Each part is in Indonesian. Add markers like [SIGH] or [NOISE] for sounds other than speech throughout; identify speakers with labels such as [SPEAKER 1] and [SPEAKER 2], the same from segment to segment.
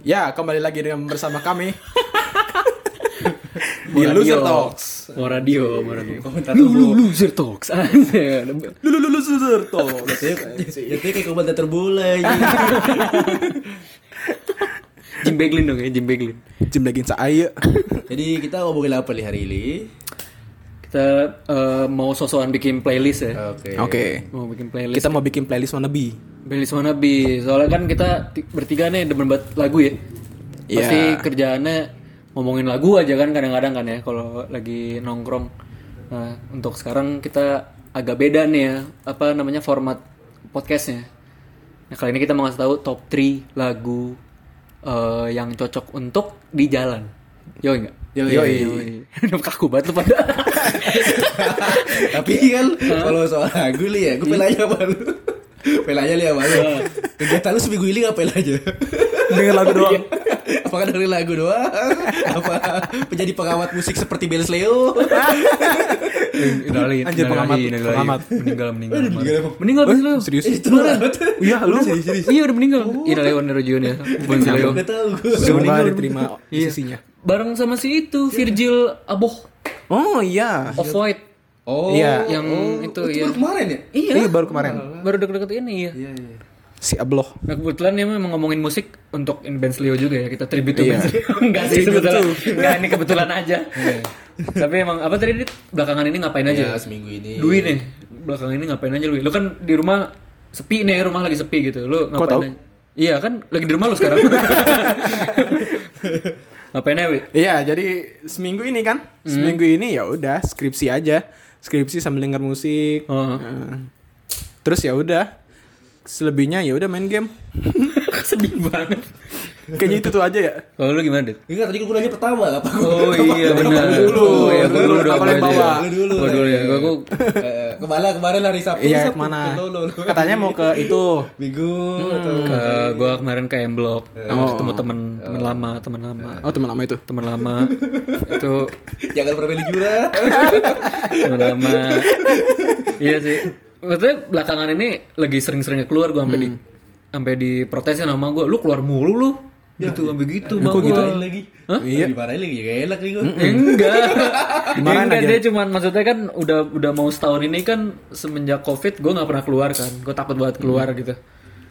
[SPEAKER 1] Ya, kembali lagi dengan bersama [LAUGHS] kami di Loser Talks.
[SPEAKER 2] Mau radio, mau radio.
[SPEAKER 3] Iya. komentar
[SPEAKER 2] Lu lu
[SPEAKER 3] terburuk
[SPEAKER 2] loser talks. [LAUGHS] Anjir.
[SPEAKER 1] Lu lu lu Loser Talks.
[SPEAKER 2] [LAUGHS]
[SPEAKER 3] Jadi kayak komentar [LAUGHS] terboleh
[SPEAKER 2] Jim Beglin dong ya, Jim Beglin.
[SPEAKER 1] Jim lagi saya.
[SPEAKER 3] Jadi kita ngomongin apa nih hari ini?
[SPEAKER 2] Kita eh, mau sosokan bikin playlist ya.
[SPEAKER 3] Oke.
[SPEAKER 1] Oke.
[SPEAKER 2] Mau bikin playlist.
[SPEAKER 1] Kita mau bikin playlist wannabe.
[SPEAKER 2] Playlist mana bi? Soalnya kan kita ti- bertiga nih demen banget lagu ya. Pasti
[SPEAKER 1] Iya.
[SPEAKER 2] kerjaannya ngomongin lagu aja kan kadang-kadang kan ya kalau lagi nongkrong. Nah, untuk sekarang kita agak beda nih ya. Apa namanya format podcastnya? Nah kali ini kita mau ngasih tahu top 3 lagu eh, yang cocok untuk di jalan. Yo enggak?
[SPEAKER 1] Yoi.
[SPEAKER 2] Udah kaku banget lu pada.
[SPEAKER 3] Tapi
[SPEAKER 1] Iya,
[SPEAKER 3] kan kalau soal lagu li ya, gue
[SPEAKER 2] Iya.
[SPEAKER 3] pelanya sama
[SPEAKER 2] [LAUGHS]
[SPEAKER 3] lu. Pelanya li sama lu. Kegiatan lu seminggu ini ngapain aja? [LAUGHS]
[SPEAKER 1] Dengar lagu doang.
[SPEAKER 3] Apakah dari lagu doang? Apa menjadi pengawat musik seperti Bel
[SPEAKER 2] [LAUGHS]
[SPEAKER 3] Leo?
[SPEAKER 2] Indralin,
[SPEAKER 1] Anjir, pengamat, pengamat.
[SPEAKER 2] Meninggal, meninggal.
[SPEAKER 3] meninggal apa?
[SPEAKER 2] Meninggal bis lu.
[SPEAKER 1] Serius?
[SPEAKER 3] Itu banget.
[SPEAKER 1] Iya, lu.
[SPEAKER 2] Iya udah meninggal. Ina Leon Rojion ya. Bon Leo.
[SPEAKER 3] Gak tau gue.
[SPEAKER 1] Semoga diterima sisinya.
[SPEAKER 2] Bareng sama Iya. si itu Virgil Aboh
[SPEAKER 1] Oh iya.
[SPEAKER 2] of White
[SPEAKER 3] Oh,
[SPEAKER 1] Iya.
[SPEAKER 2] yang itu
[SPEAKER 3] itu
[SPEAKER 2] ya.
[SPEAKER 3] baru kemarin ya?
[SPEAKER 1] Iya, baru kemarin.
[SPEAKER 2] Baru deket-deket ini ya.
[SPEAKER 1] Si Abloh.
[SPEAKER 2] Nah kebetulan dia memang ngomongin musik untuk in Benz Leo juga ya kita tribute to
[SPEAKER 1] Iya.
[SPEAKER 2] Benz Leo. [LAUGHS] Enggak sih sebetulnya. Enggak ini kebetulan aja. Tapi emang apa tadi Dit? belakangan ini ngapain aja?
[SPEAKER 3] Ya, seminggu ini.
[SPEAKER 2] Dwi nih belakangan ini ngapain aja Dwi? Lu kan di rumah sepi nih rumah lagi sepi gitu. Lu ngapain?
[SPEAKER 1] tahu?
[SPEAKER 2] aja? Iya kan lagi di rumah lu [LAUGHS] sekarang. ngapain aja [LAUGHS] Wi?
[SPEAKER 1] Iya, jadi seminggu ini kan, seminggu ini ya udah skripsi aja, skripsi sambil denger musik.
[SPEAKER 2] Oh.
[SPEAKER 1] Eh, Terus ya udah, selebihnya ya udah main [LAUGHS] game.
[SPEAKER 2] Sedih banget.
[SPEAKER 1] Kayaknya itu tuh aja ya.
[SPEAKER 2] Kalau Oh, lu gimana, Dit?
[SPEAKER 3] Enggak, tadi gue nanya pertama apa
[SPEAKER 2] Oh [LAUGHS] iya benar.
[SPEAKER 3] dulu,
[SPEAKER 2] Oh, ya, gua
[SPEAKER 1] dulu,
[SPEAKER 2] udah
[SPEAKER 1] apa yang
[SPEAKER 2] gua aja.
[SPEAKER 1] bawa?
[SPEAKER 3] Lu dulu.
[SPEAKER 2] Gua dulu ya. Gua gua
[SPEAKER 3] Eh, kemana kemarin hari Sabtu?
[SPEAKER 1] Iya,
[SPEAKER 3] Sabtu.
[SPEAKER 1] kemana?
[SPEAKER 3] Lo, lo, lo.
[SPEAKER 1] Katanya mau ke itu.
[SPEAKER 3] Minggu
[SPEAKER 2] Hmm.
[SPEAKER 3] atau
[SPEAKER 2] ke eh, gua kemarin ke M Block. Ketemu temen temen lama, temen lama.
[SPEAKER 1] Oh, teman lama itu.
[SPEAKER 2] Temen lama. Itu
[SPEAKER 3] jangan berbeli jurah.
[SPEAKER 2] temen lama. Iya sih. Maksudnya belakangan ini lagi sering-seringnya keluar gua sampai di sampai diprotesin sama gua. Lu keluar mulu lu. Gitu sampai gitu sama
[SPEAKER 3] Kok
[SPEAKER 2] gua.
[SPEAKER 3] gitu lagi?
[SPEAKER 2] Hah?
[SPEAKER 3] Iya. Dimarahin lagi, gak enak nih gue.
[SPEAKER 2] Enggak.
[SPEAKER 1] Dimarahin
[SPEAKER 2] Enggak
[SPEAKER 1] aja.
[SPEAKER 2] Ah, dia cuman maksudnya kan udah udah mau setahun ini kan semenjak covid gue nggak pernah keluar kan. Gue takut banget keluar gitu.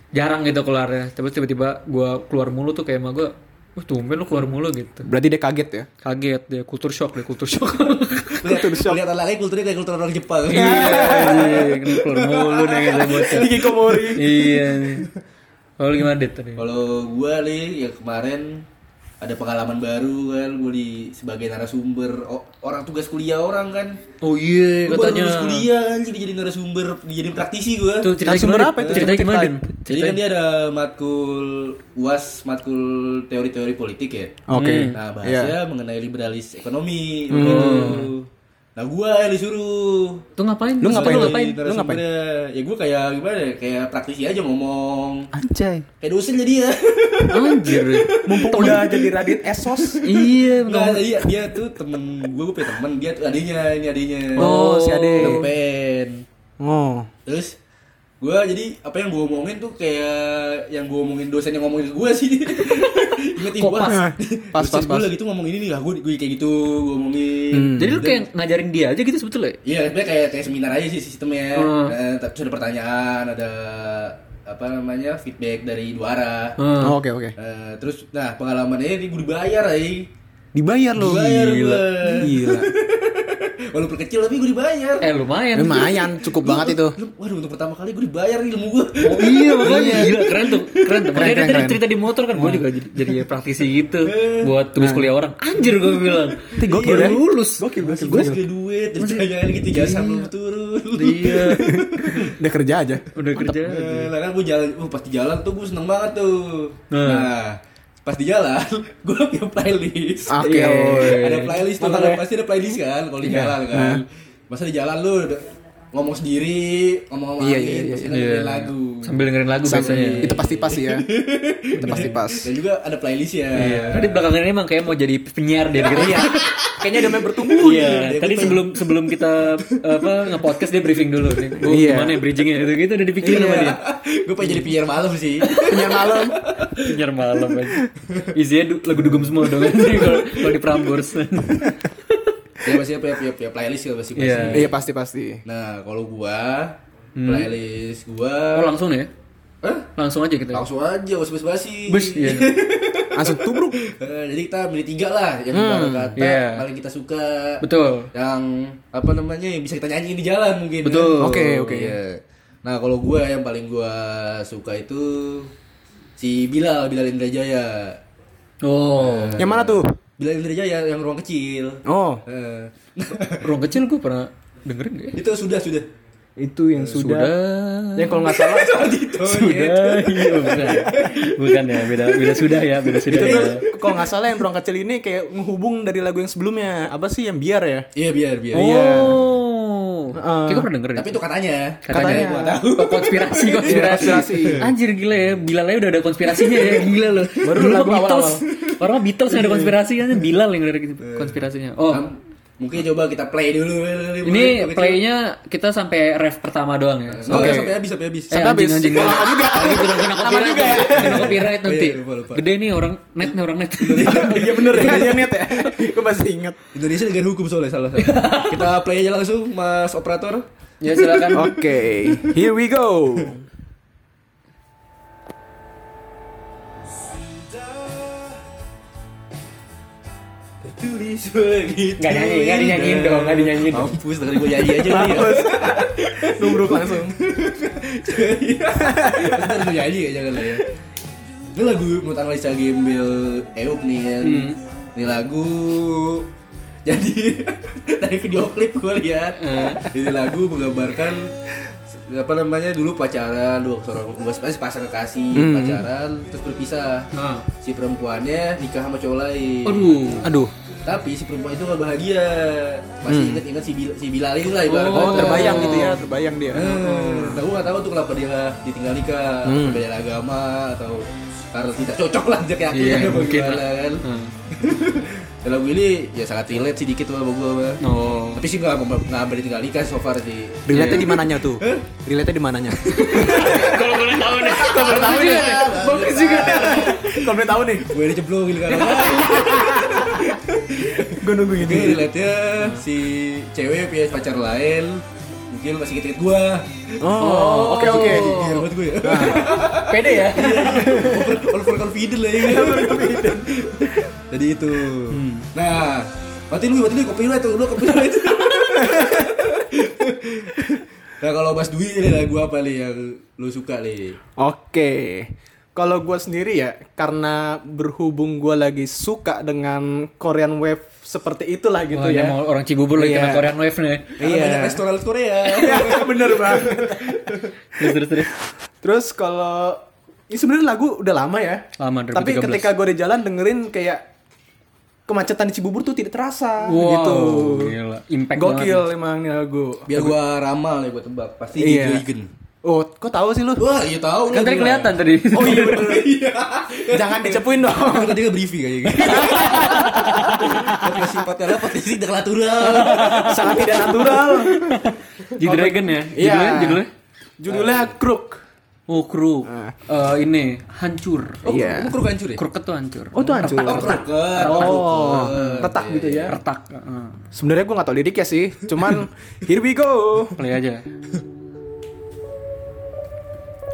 [SPEAKER 2] Jarang gitu keluarnya. Terus tiba-tiba gue keluar mulu tuh kayak emang gue, wah tumben lu keluar mulu gitu.
[SPEAKER 1] Berarti dia kaget ya.
[SPEAKER 2] Kaget dia kultur shock dia kultur shock.
[SPEAKER 3] Kultur Lihat anaknya kulturnya kayak kultur orang Jepang.
[SPEAKER 2] iya, iya, kenapa keluar mulu nih kata bocah.
[SPEAKER 1] Hikikomori.
[SPEAKER 2] Iya. nih. Kalau gimana Dit tadi?
[SPEAKER 3] Kalau gue nih, ya kemarin ada pengalaman baru kan, gue di sebagai narasumber O- orang tugas kuliah orang kan.
[SPEAKER 2] Oh iya
[SPEAKER 3] Gue baru
[SPEAKER 2] katanya.
[SPEAKER 3] lulus kuliah kan, jadi jadi narasumber, jadi praktisi gue.
[SPEAKER 2] Tuh cerita
[SPEAKER 1] Narasumber
[SPEAKER 2] gimana?
[SPEAKER 1] apa itu?
[SPEAKER 2] Cerita gimana? Dit?
[SPEAKER 3] Jadi kan dia ada matkul UAS, matkul teori-teori politik ya.
[SPEAKER 1] Oke.
[SPEAKER 3] Nah, bahasnya mengenai liberalis ekonomi gitu. Nah, gua yang disuruh.
[SPEAKER 2] Tuh ngapain?
[SPEAKER 1] Lu ngapain?
[SPEAKER 2] Lu
[SPEAKER 3] Jadi narasumbernya, Ya gua kayak gimana ya? Kayak praktisi aja ngomong.
[SPEAKER 1] Anjay.
[SPEAKER 3] Kayak dosen jadi ya. [LAUGHS]
[SPEAKER 2] Anjir.
[SPEAKER 1] Mumpung udah jadi Radit Esos.
[SPEAKER 2] Iya,
[SPEAKER 3] Enggak, jadi ya, dia tuh temen gua, gua punya temen, dia tuh adiknya, ini adiknya.
[SPEAKER 1] Oh, si Ade.
[SPEAKER 3] Pen.
[SPEAKER 1] Oh.
[SPEAKER 3] Terus gua jadi apa yang gua omongin tuh kayak yang gua omongin dosen yang ngomongin ke gua sih. [LAUGHS] Ingat
[SPEAKER 2] Kok
[SPEAKER 3] [LAUGHS]
[SPEAKER 2] pas?
[SPEAKER 1] Pas, pas,
[SPEAKER 3] Dosen
[SPEAKER 1] pas. Hmm.
[SPEAKER 3] Gua lagi tuh ngomongin ini lah, gua, gua kayak gitu, gua omongin.
[SPEAKER 2] Jadi lu kayak ngajarin dia aja gitu sebetulnya.
[SPEAKER 3] Iya, sebenarnya kayak kayak seminar aja sih
[SPEAKER 1] Ah.
[SPEAKER 3] sistemnya.
[SPEAKER 2] Hmm.
[SPEAKER 3] Nah, tapi terus ada pertanyaan, ada apa namanya feedback dari dua arah.
[SPEAKER 2] Hmm.
[SPEAKER 1] Oh, Oke, oke.
[SPEAKER 3] Eh, terus, nah pengalamannya ini gue dibayar, eh. ay.
[SPEAKER 1] Dibayar lo.
[SPEAKER 3] Dibayar gua.
[SPEAKER 1] Gila.
[SPEAKER 3] Walaupun kecil tapi gue dibayar.
[SPEAKER 2] Eh lumayan.
[SPEAKER 1] Lumayan cukup banget itu.
[SPEAKER 3] Lu- Waduh, untuk pertama kali gue dibayar ilmu gue.
[SPEAKER 2] Oh, iya makanya gila keren tuh keren tuh
[SPEAKER 1] keren,
[SPEAKER 2] makanya dia tadi
[SPEAKER 1] keren. Nah.
[SPEAKER 2] cerita di motor kan gue juga jadi, jadi praktisi gitu buat tugas kuliah orang anjir gue bilang
[SPEAKER 1] gokil
[SPEAKER 2] Baru
[SPEAKER 1] ya.
[SPEAKER 2] lulus
[SPEAKER 1] Gokil, Iya.
[SPEAKER 3] Masih gue graduate, ditanyain gitu, jasa belum turun.
[SPEAKER 2] iya
[SPEAKER 1] Udah kerja aja.
[SPEAKER 2] udah kerja
[SPEAKER 3] Eh, Lah kan gue jalan, oh pas di jalan tuh gue seneng banget tuh.
[SPEAKER 2] Nah.
[SPEAKER 3] Nah, pas di jalan, [LAUGHS] gue punya playlist.
[SPEAKER 1] Oke. Iya.
[SPEAKER 2] Iya, woy.
[SPEAKER 1] Nah.
[SPEAKER 3] Ada playlist tuh, ada, pasti ada playlist kan, kalau di jalan kan. Masa di jalan lu, d- ngomong sendiri, ngomong-ngomong
[SPEAKER 1] Iya,
[SPEAKER 3] angin,
[SPEAKER 1] iya, iya,
[SPEAKER 3] terus
[SPEAKER 1] iya.
[SPEAKER 3] dengerin lagu.
[SPEAKER 2] Sambil dengerin lagu biasanya.
[SPEAKER 1] Itu pasti pas sih ya. itu pasti pas.
[SPEAKER 3] Dan juga ada playlist ya.
[SPEAKER 1] Iya.
[SPEAKER 3] [LAUGHS]
[SPEAKER 2] Tadi belakangan ini emang kayak mau jadi penyiar dia gitu. Iya.
[SPEAKER 1] Kayaknya udah main bertumbuh.
[SPEAKER 2] Iya, tadi sebelum sebelum kita apa nge-podcast dia briefing dulu nih. Gua
[SPEAKER 1] Iya.
[SPEAKER 2] gimana ya bridgingnya gitu gitu udah dipikirin sama dia.
[SPEAKER 3] gue pengen jadi penyiar malam sih.
[SPEAKER 1] Penyiar malam.
[SPEAKER 2] Penyiar malam aja. Isinya du- lagu dugem semua dong [LAUGHS] kalau kalau di Prambors.
[SPEAKER 3] [LAUGHS] ya pasti ya, ya, ya, playlist ya pasti.
[SPEAKER 2] Iya.
[SPEAKER 3] pasti.
[SPEAKER 1] Iya Hmm. pasti pasti.
[SPEAKER 3] Nah, kalau gua playlist
[SPEAKER 2] Oh,
[SPEAKER 3] gua
[SPEAKER 2] langsung ya?
[SPEAKER 3] eh,
[SPEAKER 2] Langsung aja kita. ya?
[SPEAKER 3] langsung aja usah basi-basi.
[SPEAKER 2] Bus iya.
[SPEAKER 1] Langsung tubruk.
[SPEAKER 3] Eh, jadi kita milih tiga lah yang baru kata
[SPEAKER 2] iya.
[SPEAKER 3] paling kita suka
[SPEAKER 2] Betul.
[SPEAKER 3] yang apa namanya yang bisa kita nyanyiin di jalan mungkin
[SPEAKER 2] Betul.
[SPEAKER 1] Oke,
[SPEAKER 3] kan?
[SPEAKER 1] oke.
[SPEAKER 3] Iya. nah kalau gue yang paling gue suka itu si Bilal Bilal Indrajaya
[SPEAKER 2] Oh.
[SPEAKER 1] Yang mana tuh?
[SPEAKER 3] Bilal Indrajaya yang ruang kecil
[SPEAKER 1] Oh,
[SPEAKER 3] Eh, [LAUGHS]
[SPEAKER 2] Ruang kecil gue pernah dengerin gak ya?
[SPEAKER 3] itu sudah sudah
[SPEAKER 1] itu yang sudah.
[SPEAKER 2] Sudah.
[SPEAKER 1] Yang Ya, kalau nggak [LAUGHS] salah
[SPEAKER 3] itu
[SPEAKER 2] Sudah. Iya, bukan. Bukan ya, beda beda sudah ya, beda sudah.
[SPEAKER 1] itu
[SPEAKER 2] ya.
[SPEAKER 1] tuh kalau nggak salah yang ruang kecil ini kayak menghubung dari lagu yang sebelumnya. Apa sih yang biar ya?
[SPEAKER 3] iya biar biar
[SPEAKER 2] Oh. Kayak gue pernah dengerin.
[SPEAKER 3] tapi itu katanya
[SPEAKER 2] katanya,
[SPEAKER 3] Gua
[SPEAKER 2] katanya. Oh, konspirasi
[SPEAKER 1] Iya,
[SPEAKER 2] konspirasi.
[SPEAKER 1] konspirasi.
[SPEAKER 2] Anjir gila ya, Bilal aja udah ada konspirasinya ya, gila loh.
[SPEAKER 1] Baru
[SPEAKER 2] Dulu
[SPEAKER 1] lagu
[SPEAKER 2] Beatles.
[SPEAKER 1] awal-awal.
[SPEAKER 2] Orang mah Beatles yang ada konspirasinya, Bilal yang ada konspirasinya. Oh,
[SPEAKER 3] Am, Nah, mungkin coba kita play dulu
[SPEAKER 2] ini
[SPEAKER 3] Ruang kecil.
[SPEAKER 2] playnya kita sampai ref pertama doang ya.
[SPEAKER 3] Oh,
[SPEAKER 1] Oke.
[SPEAKER 3] sampai habis sampai habis
[SPEAKER 2] Eh,
[SPEAKER 1] Sampai habis.
[SPEAKER 2] anjing, anjing.
[SPEAKER 1] Lama ya? juga.
[SPEAKER 2] Lagi kena kena copyright, kena copyright nanti.
[SPEAKER 3] ya? Oh, iya, lupa, lupa.
[SPEAKER 2] Gede nih orang net nih orang net.
[SPEAKER 1] [LAUGHS] Iya bener ya. Iya net ya. Gue masih ingat.
[SPEAKER 3] Indonesia negara hukum soalnya salah.
[SPEAKER 2] [LAUGHS]
[SPEAKER 3] salah. Kita play aja langsung Mas operator.
[SPEAKER 2] [LAUGHS] ya silakan.
[SPEAKER 1] Oke, here we go.
[SPEAKER 3] Tertulis begitu.
[SPEAKER 2] Nggak nyanyi, nggak dinyanyiin dong, nggak dinyanyiin dong.
[SPEAKER 3] Mampus, dengerin gue nyanyi aja nih.
[SPEAKER 1] Mampus.
[SPEAKER 3] [LAUGHS]
[SPEAKER 1] Nubruk langsung.
[SPEAKER 3] Ntar gue nyanyi ya, jangan lah ya. Ini lagu menurut analisa Gembel Eup nih kan.
[SPEAKER 2] Hmm.
[SPEAKER 3] Ini lagu jadi [LAUGHS] dari video klip gue lihat
[SPEAKER 1] Eh.
[SPEAKER 3] ini lagu menggambarkan apa namanya dulu pacaran dua seorang dua sepasang kekasih
[SPEAKER 1] Hmm.
[SPEAKER 3] pacaran terus berpisah
[SPEAKER 2] Nah.
[SPEAKER 3] si perempuannya nikah sama cowok lain
[SPEAKER 2] Aduh.
[SPEAKER 1] Ah. Aduh.
[SPEAKER 3] Tapi si perempuan itu gak bahagia. Masih inget-inget si, Bil si Bilal ini lah
[SPEAKER 2] Oh,
[SPEAKER 3] ibarat
[SPEAKER 1] Hmm. Oh,
[SPEAKER 3] kata.
[SPEAKER 1] terbayang gitu ya, terbayang dia.
[SPEAKER 3] Hmm, nah, gue gak tau tuh kenapa dia ditinggal nikah,
[SPEAKER 2] Hmm.
[SPEAKER 3] beda agama atau karena tidak cocok lah dia keyakinan
[SPEAKER 2] Iya,
[SPEAKER 3] apa
[SPEAKER 2] mungkin
[SPEAKER 3] gimana
[SPEAKER 2] lah.
[SPEAKER 3] kan. [LAUGHS]
[SPEAKER 2] Hmm.
[SPEAKER 3] Dan lagu ini ya sangat relate sih dikit sama gue.
[SPEAKER 2] Oh.
[SPEAKER 3] Tapi sih gak, gak, gak berani tinggal nikah so far sih.
[SPEAKER 1] Relate-nya di mananya tuh? Relate-nya di [LAUGHS] mananya?
[SPEAKER 2] Kalau boleh tahu nih.
[SPEAKER 1] Kalau tahu nih. Bagus juga. Kalau boleh tahu nih,
[SPEAKER 3] Gue ini ceblok gitu
[SPEAKER 2] [LAUGHS]
[SPEAKER 3] kan.
[SPEAKER 1] gue nunggu
[SPEAKER 3] Ini
[SPEAKER 1] ini.
[SPEAKER 3] relate-nya si cewek punya pacar lain. Mungkin masih inget-inget gue.
[SPEAKER 1] Oh, oke oke.
[SPEAKER 3] Gila banget gue ya.
[SPEAKER 2] Nah, Pede ya.
[SPEAKER 3] Iya. over overconfident lah ya
[SPEAKER 1] Iya,
[SPEAKER 3] jadi itu
[SPEAKER 1] Hmm.
[SPEAKER 3] nah matiin lu matiin lu copyright tuh lu copyright nah kalau Mas Dwi ini lagu apa nih yang lu suka nih
[SPEAKER 1] Oke. Kalau gue sendiri ya, karena berhubung gue lagi suka dengan Korean Wave seperti itulah gitu
[SPEAKER 2] Wah,
[SPEAKER 1] ya.
[SPEAKER 2] emang orang Cibubur lagi
[SPEAKER 1] Iya.
[SPEAKER 2] kena Korean Wave nih.
[SPEAKER 3] karena
[SPEAKER 1] Iya.
[SPEAKER 3] banyak restoran Korea
[SPEAKER 1] Bener banget.
[SPEAKER 2] Terus terus terus.
[SPEAKER 1] Terus kalau ini sebenarnya lagu udah lama ya.
[SPEAKER 2] Lama,
[SPEAKER 1] Tapi
[SPEAKER 2] 2013.
[SPEAKER 1] ketika gue di jalan dengerin kayak kemacetan di Cibubur tuh tidak terasa
[SPEAKER 2] Wow,
[SPEAKER 1] gitu.
[SPEAKER 2] gila. Impact
[SPEAKER 1] Gokil emang nih lagu.
[SPEAKER 3] biar gua ramal nih gua tebak pasti
[SPEAKER 1] Iya.
[SPEAKER 3] Gigo Igen
[SPEAKER 1] Oh, kok tahu sih lu?
[SPEAKER 3] wah iya tahu
[SPEAKER 2] Kan
[SPEAKER 3] lah
[SPEAKER 2] tadi
[SPEAKER 3] gua.
[SPEAKER 2] kelihatan tadi.
[SPEAKER 1] Oh [LAUGHS] iya bener.
[SPEAKER 3] iya
[SPEAKER 1] Jangan dicepuin dong.
[SPEAKER 3] Kan tadi nggak briefing kayaknya
[SPEAKER 1] [LAUGHS]
[SPEAKER 3] Kan Potensi patela, potensi deklaratural
[SPEAKER 1] Sangat tidak
[SPEAKER 2] [LAUGHS]
[SPEAKER 1] natural. Iya.
[SPEAKER 2] G-Dragon ya. Judulnya judulnya.
[SPEAKER 1] Judulnya Crook.
[SPEAKER 2] Oh, kru.
[SPEAKER 1] Ah.
[SPEAKER 2] Eh, ini hancur.
[SPEAKER 3] Oh,
[SPEAKER 1] Iya.
[SPEAKER 3] kamu keruk hancur ya?
[SPEAKER 2] Kruket tuh hancur.
[SPEAKER 1] Oh, tuh hancur.
[SPEAKER 3] Oh, keruket.
[SPEAKER 1] Oh, retak gitu ya.
[SPEAKER 2] Retak. Heeh.
[SPEAKER 1] Sebenarnya gue gak tau liriknya sih, cuman here we go.
[SPEAKER 2] Play aja.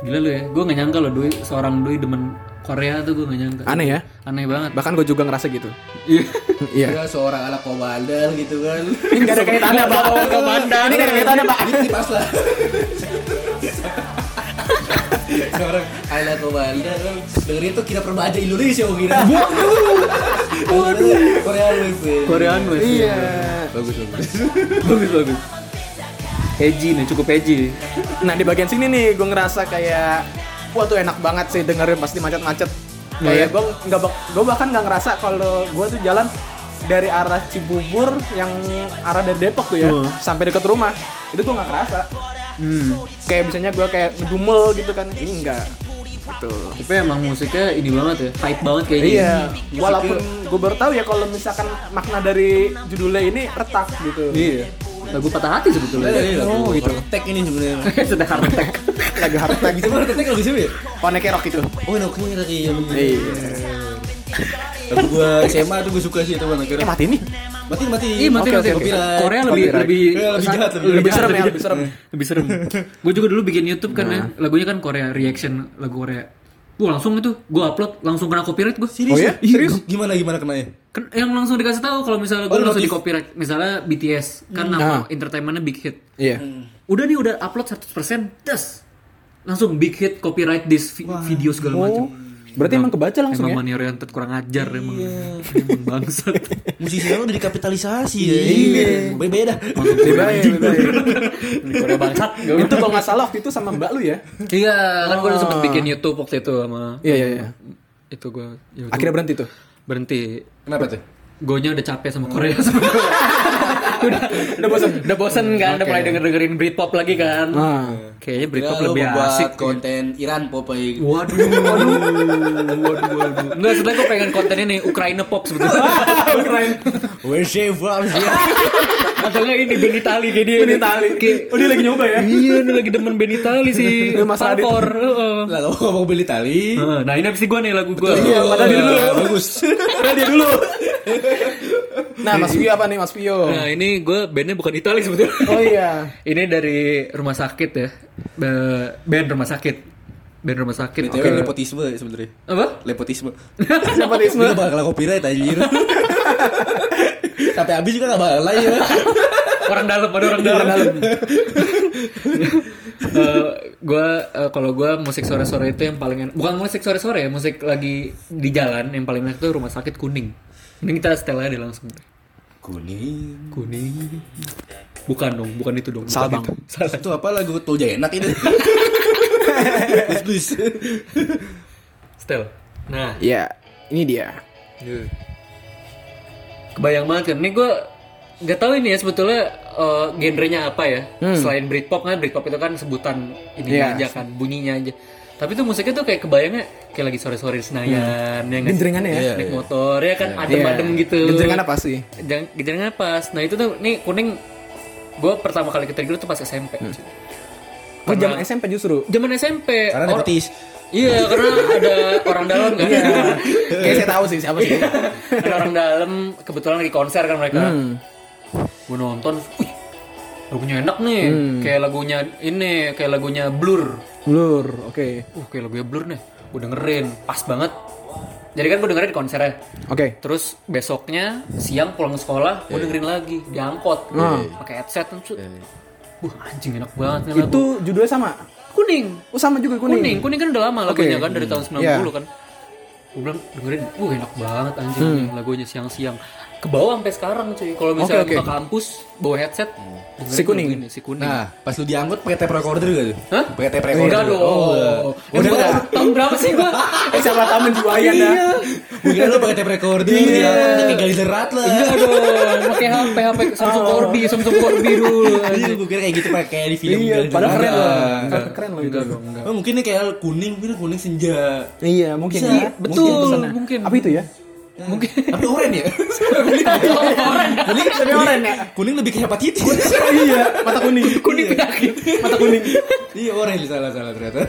[SPEAKER 2] Gila lu ya. Gue gak nyangka loh Dwi, seorang Dwi demen Korea tuh gue gak nyangka.
[SPEAKER 1] Aneh ya,
[SPEAKER 2] Aneh banget.
[SPEAKER 1] bahkan gue juga ngerasa gitu.
[SPEAKER 2] Iya.
[SPEAKER 1] Iya.
[SPEAKER 3] Ya, seorang ala komandan gitu kan.
[SPEAKER 1] [LAUGHS] Ini gak ada kaitannya, Pak. Ini gak ada kaitannya, Pak.
[SPEAKER 3] Ini pas lah. [LAUGHS] seorang ala komandan dengerin tuh kita perbaja Indonesia oh kira. Waduh. Korea Wave. ya.
[SPEAKER 2] Korean wave.
[SPEAKER 1] Iya.
[SPEAKER 3] Bagus bagus.
[SPEAKER 2] bagus bagus. Edgy nih, cukup edgy.
[SPEAKER 1] Nah, di bagian sini nih gue ngerasa kayak wah tuh enak banget sih dengerin pasti macet-macet.
[SPEAKER 2] Iya.
[SPEAKER 1] Kayak gue nggak bak- gue bahkan nggak ngerasa kalau gue tuh jalan dari arah Cibubur yang arah dari Depok tuh ya
[SPEAKER 2] Tuh.
[SPEAKER 1] sampai deket rumah itu gue nggak kerasa
[SPEAKER 2] Hmm.
[SPEAKER 1] kayak biasanya gue kayak ngedumel gitu kan ini enggak gitu
[SPEAKER 2] Tapi emang musiknya ini banget ya, hype banget kayaknya.
[SPEAKER 1] iya walaupun gue baru tahu ya kalau misalkan makna dari judulnya ini retak gitu
[SPEAKER 2] Iya. Lagu patah hati sebetulnya.
[SPEAKER 3] Oh,
[SPEAKER 2] gitu.
[SPEAKER 3] gitu. Tek ini sebenarnya.
[SPEAKER 1] Iya.
[SPEAKER 2] [LAUGHS] Sudah hard attack.
[SPEAKER 1] lagi hard attack
[SPEAKER 3] Itu baru tek lagu siapa ya?
[SPEAKER 1] Koneke rock itu
[SPEAKER 3] Oh, no clear lagi.
[SPEAKER 1] Iya.
[SPEAKER 3] Lagu gua SMA tuh gua suka sih itu mana kira.
[SPEAKER 1] eh mati nih
[SPEAKER 3] Mati mati.
[SPEAKER 2] Iya, mati
[SPEAKER 1] Oke,
[SPEAKER 2] mati.
[SPEAKER 1] oke, oke.
[SPEAKER 2] Korea lebih
[SPEAKER 1] Copyright.
[SPEAKER 2] lebih
[SPEAKER 3] Iya, lebih jahat, lebih
[SPEAKER 2] lebih
[SPEAKER 3] jahat,
[SPEAKER 2] serem ya,
[SPEAKER 1] lebih
[SPEAKER 2] lebih serem. Lebih serem. Gue juga dulu bikin YouTube karena lagunya kan Korea reaction lagu Korea. Gue langsung itu, gue upload langsung kena copyright gue.
[SPEAKER 1] Oh
[SPEAKER 3] Serius?
[SPEAKER 1] ya?
[SPEAKER 3] Iya.
[SPEAKER 1] Serius?
[SPEAKER 3] Gimana gimana ya? kenanya?
[SPEAKER 2] Kan yang langsung dikasih tahu kalau misalnya gue
[SPEAKER 3] Oh,
[SPEAKER 2] langsung di
[SPEAKER 3] notif.
[SPEAKER 2] copyright. Misalnya BTS kan nama entertainmentnya Big Hit.
[SPEAKER 1] iya
[SPEAKER 2] Udah nih udah upload 100%, das. Langsung Big Hit copyright this vi- video segala macam.
[SPEAKER 1] oh berarti emang kebaca langsung
[SPEAKER 2] Emang
[SPEAKER 1] ya
[SPEAKER 2] money oriented kurang ajar emang. [LAUGHS] Emang bangsat.
[SPEAKER 3] Musisi sekarang udah dikapitalisasi ya. Iya. Beda dah.
[SPEAKER 1] Lebih baik, lebih baik.
[SPEAKER 2] Korea bangsat.
[SPEAKER 1] iya. itu kalau nggak salah waktu itu sama mbak lu ya
[SPEAKER 2] Iya, kan gue udah sempet
[SPEAKER 1] Ah.
[SPEAKER 2] bikin YouTube waktu itu sama
[SPEAKER 1] iya iya iya
[SPEAKER 2] itu gue
[SPEAKER 1] akhirnya berhenti tuh
[SPEAKER 2] berhenti.
[SPEAKER 3] Kenapa tuh?
[SPEAKER 2] Gonya udah capek sama Korea [LAUGHS] sebenarnya. udah, udah bosen, udah bosen kan, udah mulai denger dengerin Britpop lagi kan.
[SPEAKER 1] nah
[SPEAKER 2] Kayaknya
[SPEAKER 3] Kira
[SPEAKER 2] Britpop
[SPEAKER 3] Iya, lu
[SPEAKER 2] lebih asik. ya.
[SPEAKER 3] membuat konten Iran pop kayak gitu.
[SPEAKER 2] Waduh, waduh, waduh, waduh. Enggak, sebenarnya gue pengen kontennya nih Ukraina pop
[SPEAKER 1] [LAUGHS]
[SPEAKER 2] sebetulnya.
[SPEAKER 3] Where she from? Iya.
[SPEAKER 2] Atau enggak ini Ben Itali kayak dia. Ben Itali.
[SPEAKER 1] oh dia lagi nyoba ya
[SPEAKER 2] Iya, ini lagi demen Ben Itali sih.
[SPEAKER 1] Lu Mas Radit.
[SPEAKER 2] Parkour, heeh.
[SPEAKER 3] Lah kalau ngomong beli tali.
[SPEAKER 2] Heeh, Nah, ini abis gue nih lagu gue.
[SPEAKER 3] Iya,
[SPEAKER 1] Iya,
[SPEAKER 3] padahal dulu bagus.
[SPEAKER 1] Padahal dia dulu nah Mas Pio apa nih Mas Pio
[SPEAKER 2] Nah, ini gue bandnya bukan Itali sebetulnya.
[SPEAKER 1] oh iya
[SPEAKER 2] Ini dari rumah sakit ya. Be- Band rumah sakit. Band rumah sakit.
[SPEAKER 3] Btw
[SPEAKER 2] Oke.
[SPEAKER 3] nepotisme ya sebenarnya.
[SPEAKER 2] Apa?
[SPEAKER 3] [LAUGHS] Nepotisme.
[SPEAKER 1] Nepotisme.
[SPEAKER 3] Dia bakal copyright anjir. Sampai habis juga gak bakal lah ya.
[SPEAKER 2] Orang dalam, ada orang dalam. [LAUGHS] Eh, gua eh, kalau gua musik sore-sore itu yang paling enak. Bukan musik sore-sore ya, musik lagi di jalan yang paling enak itu rumah sakit kuning. Ini kita setel aja deh langsung.
[SPEAKER 3] Kuning.
[SPEAKER 2] Kuning. Bukan dong, bukan itu dong. bukan
[SPEAKER 1] Salah, Bang.
[SPEAKER 2] itu. Salah.
[SPEAKER 3] Itu apa lagu Tol Enak [LAUGHS] ini? please please.
[SPEAKER 2] Setel. Nah,
[SPEAKER 1] Iya, ini dia.
[SPEAKER 2] Kebayang banget kan. Ini gue nggak tahu ini ya sebetulnya eh, genrenya apa ya. Selain Britpop kan Britpop itu kan sebutan ini
[SPEAKER 1] Hmm. Iya.
[SPEAKER 2] aja kan bunyinya aja. Tapi tuh musiknya tuh kayak kebayangnya kayak lagi sore-sore di Senayan ya nggak sih?
[SPEAKER 1] Genjrengannya ya?
[SPEAKER 2] Iya, Naik motor ya kan adem-adem
[SPEAKER 1] Iya.
[SPEAKER 2] gitu.
[SPEAKER 1] Genjrengan apa sih?
[SPEAKER 2] Jang- Genjrengan pas. Nah, itu tuh nih kuning gue pertama kali ketrigger tuh pas SMP.
[SPEAKER 1] Hmm. Oh, zaman SMP justru.
[SPEAKER 2] Zaman SMP.
[SPEAKER 3] Karena
[SPEAKER 2] or-
[SPEAKER 3] nepotis.
[SPEAKER 2] Iya, karena ada orang dalam kan.
[SPEAKER 1] Iya. Kayak saya tahu sih siapa sih.
[SPEAKER 2] [LAUGHS] ada orang dalam kebetulan lagi konser kan mereka
[SPEAKER 1] Hmm.
[SPEAKER 2] gue nonton wih lagunya enak nih
[SPEAKER 1] Hmm.
[SPEAKER 2] kayak lagunya ini kayak lagunya blur
[SPEAKER 1] Blur, oke.
[SPEAKER 2] uh kayak lagunya blur nih gue dengerin pas banget jadi kan gue dengerin di konsernya
[SPEAKER 1] Oke.
[SPEAKER 2] terus besoknya siang pulang
[SPEAKER 1] Iya.
[SPEAKER 2] sekolah gue dengerin lagi di angkot pakai headset tuh wah anjing enak banget nih lagu
[SPEAKER 1] Itu judulnya sama.
[SPEAKER 2] kuning
[SPEAKER 1] Oh, sama juga
[SPEAKER 2] kuning
[SPEAKER 1] kuning.
[SPEAKER 2] kuning kan udah lama lagunya
[SPEAKER 1] Oke.
[SPEAKER 2] kan dari tahun 90
[SPEAKER 1] Iya. Hmm.
[SPEAKER 2] kan gue bilang dengerin wah enak banget anjing lagunya siang-siang ke bawah sampai sekarang cuy kalau misalnya
[SPEAKER 1] Oke, oke.
[SPEAKER 2] ke kampus bawa headset dengerin
[SPEAKER 1] Si kuning.
[SPEAKER 2] lagu ini, si kuning
[SPEAKER 3] Nah, pas lu diangkut pakai tape recorder gak tuh?
[SPEAKER 2] Hah?
[SPEAKER 3] Pakai tape recorder.
[SPEAKER 2] enggak dong Eh,
[SPEAKER 3] Udah
[SPEAKER 2] gua
[SPEAKER 3] enggak.
[SPEAKER 2] tahun berapa sih gua Iya.
[SPEAKER 1] Eh, siapa tahu menjiwaian ya.
[SPEAKER 3] Mungkin lu pakai tape recorder. Iya. Kayak Galizer Rattler.
[SPEAKER 1] Iya.
[SPEAKER 2] enggak dong pakai HP HP Samsung Corby Samsung Corby dulu
[SPEAKER 3] Iya, gue kira kayak gitu pakai di film
[SPEAKER 1] Iya,
[SPEAKER 3] Galizer
[SPEAKER 1] padahal keren loh.
[SPEAKER 3] Rattler.
[SPEAKER 1] Padahal Keren loh itu.
[SPEAKER 3] Oh, mungkin ini kayak kuning, mungkin kuning senja.
[SPEAKER 1] Iya, mungkin
[SPEAKER 3] Bisa.
[SPEAKER 1] ya.
[SPEAKER 2] Betul,
[SPEAKER 1] Mungkin pesannya.
[SPEAKER 2] mungkin.
[SPEAKER 1] Apa itu ya?
[SPEAKER 2] mungkin
[SPEAKER 3] Tapi oren
[SPEAKER 1] [LAUGHS]
[SPEAKER 3] ya? kuning,
[SPEAKER 1] Tapi oren ya?
[SPEAKER 3] Kuning lebih ke
[SPEAKER 1] [LAUGHS]
[SPEAKER 3] hepatitis.
[SPEAKER 1] iya, mata kuning. Iya.
[SPEAKER 2] kuning penyakit
[SPEAKER 1] Mata kuning.
[SPEAKER 3] iya oren salah salah
[SPEAKER 1] [LAUGHS]
[SPEAKER 3] ternyata.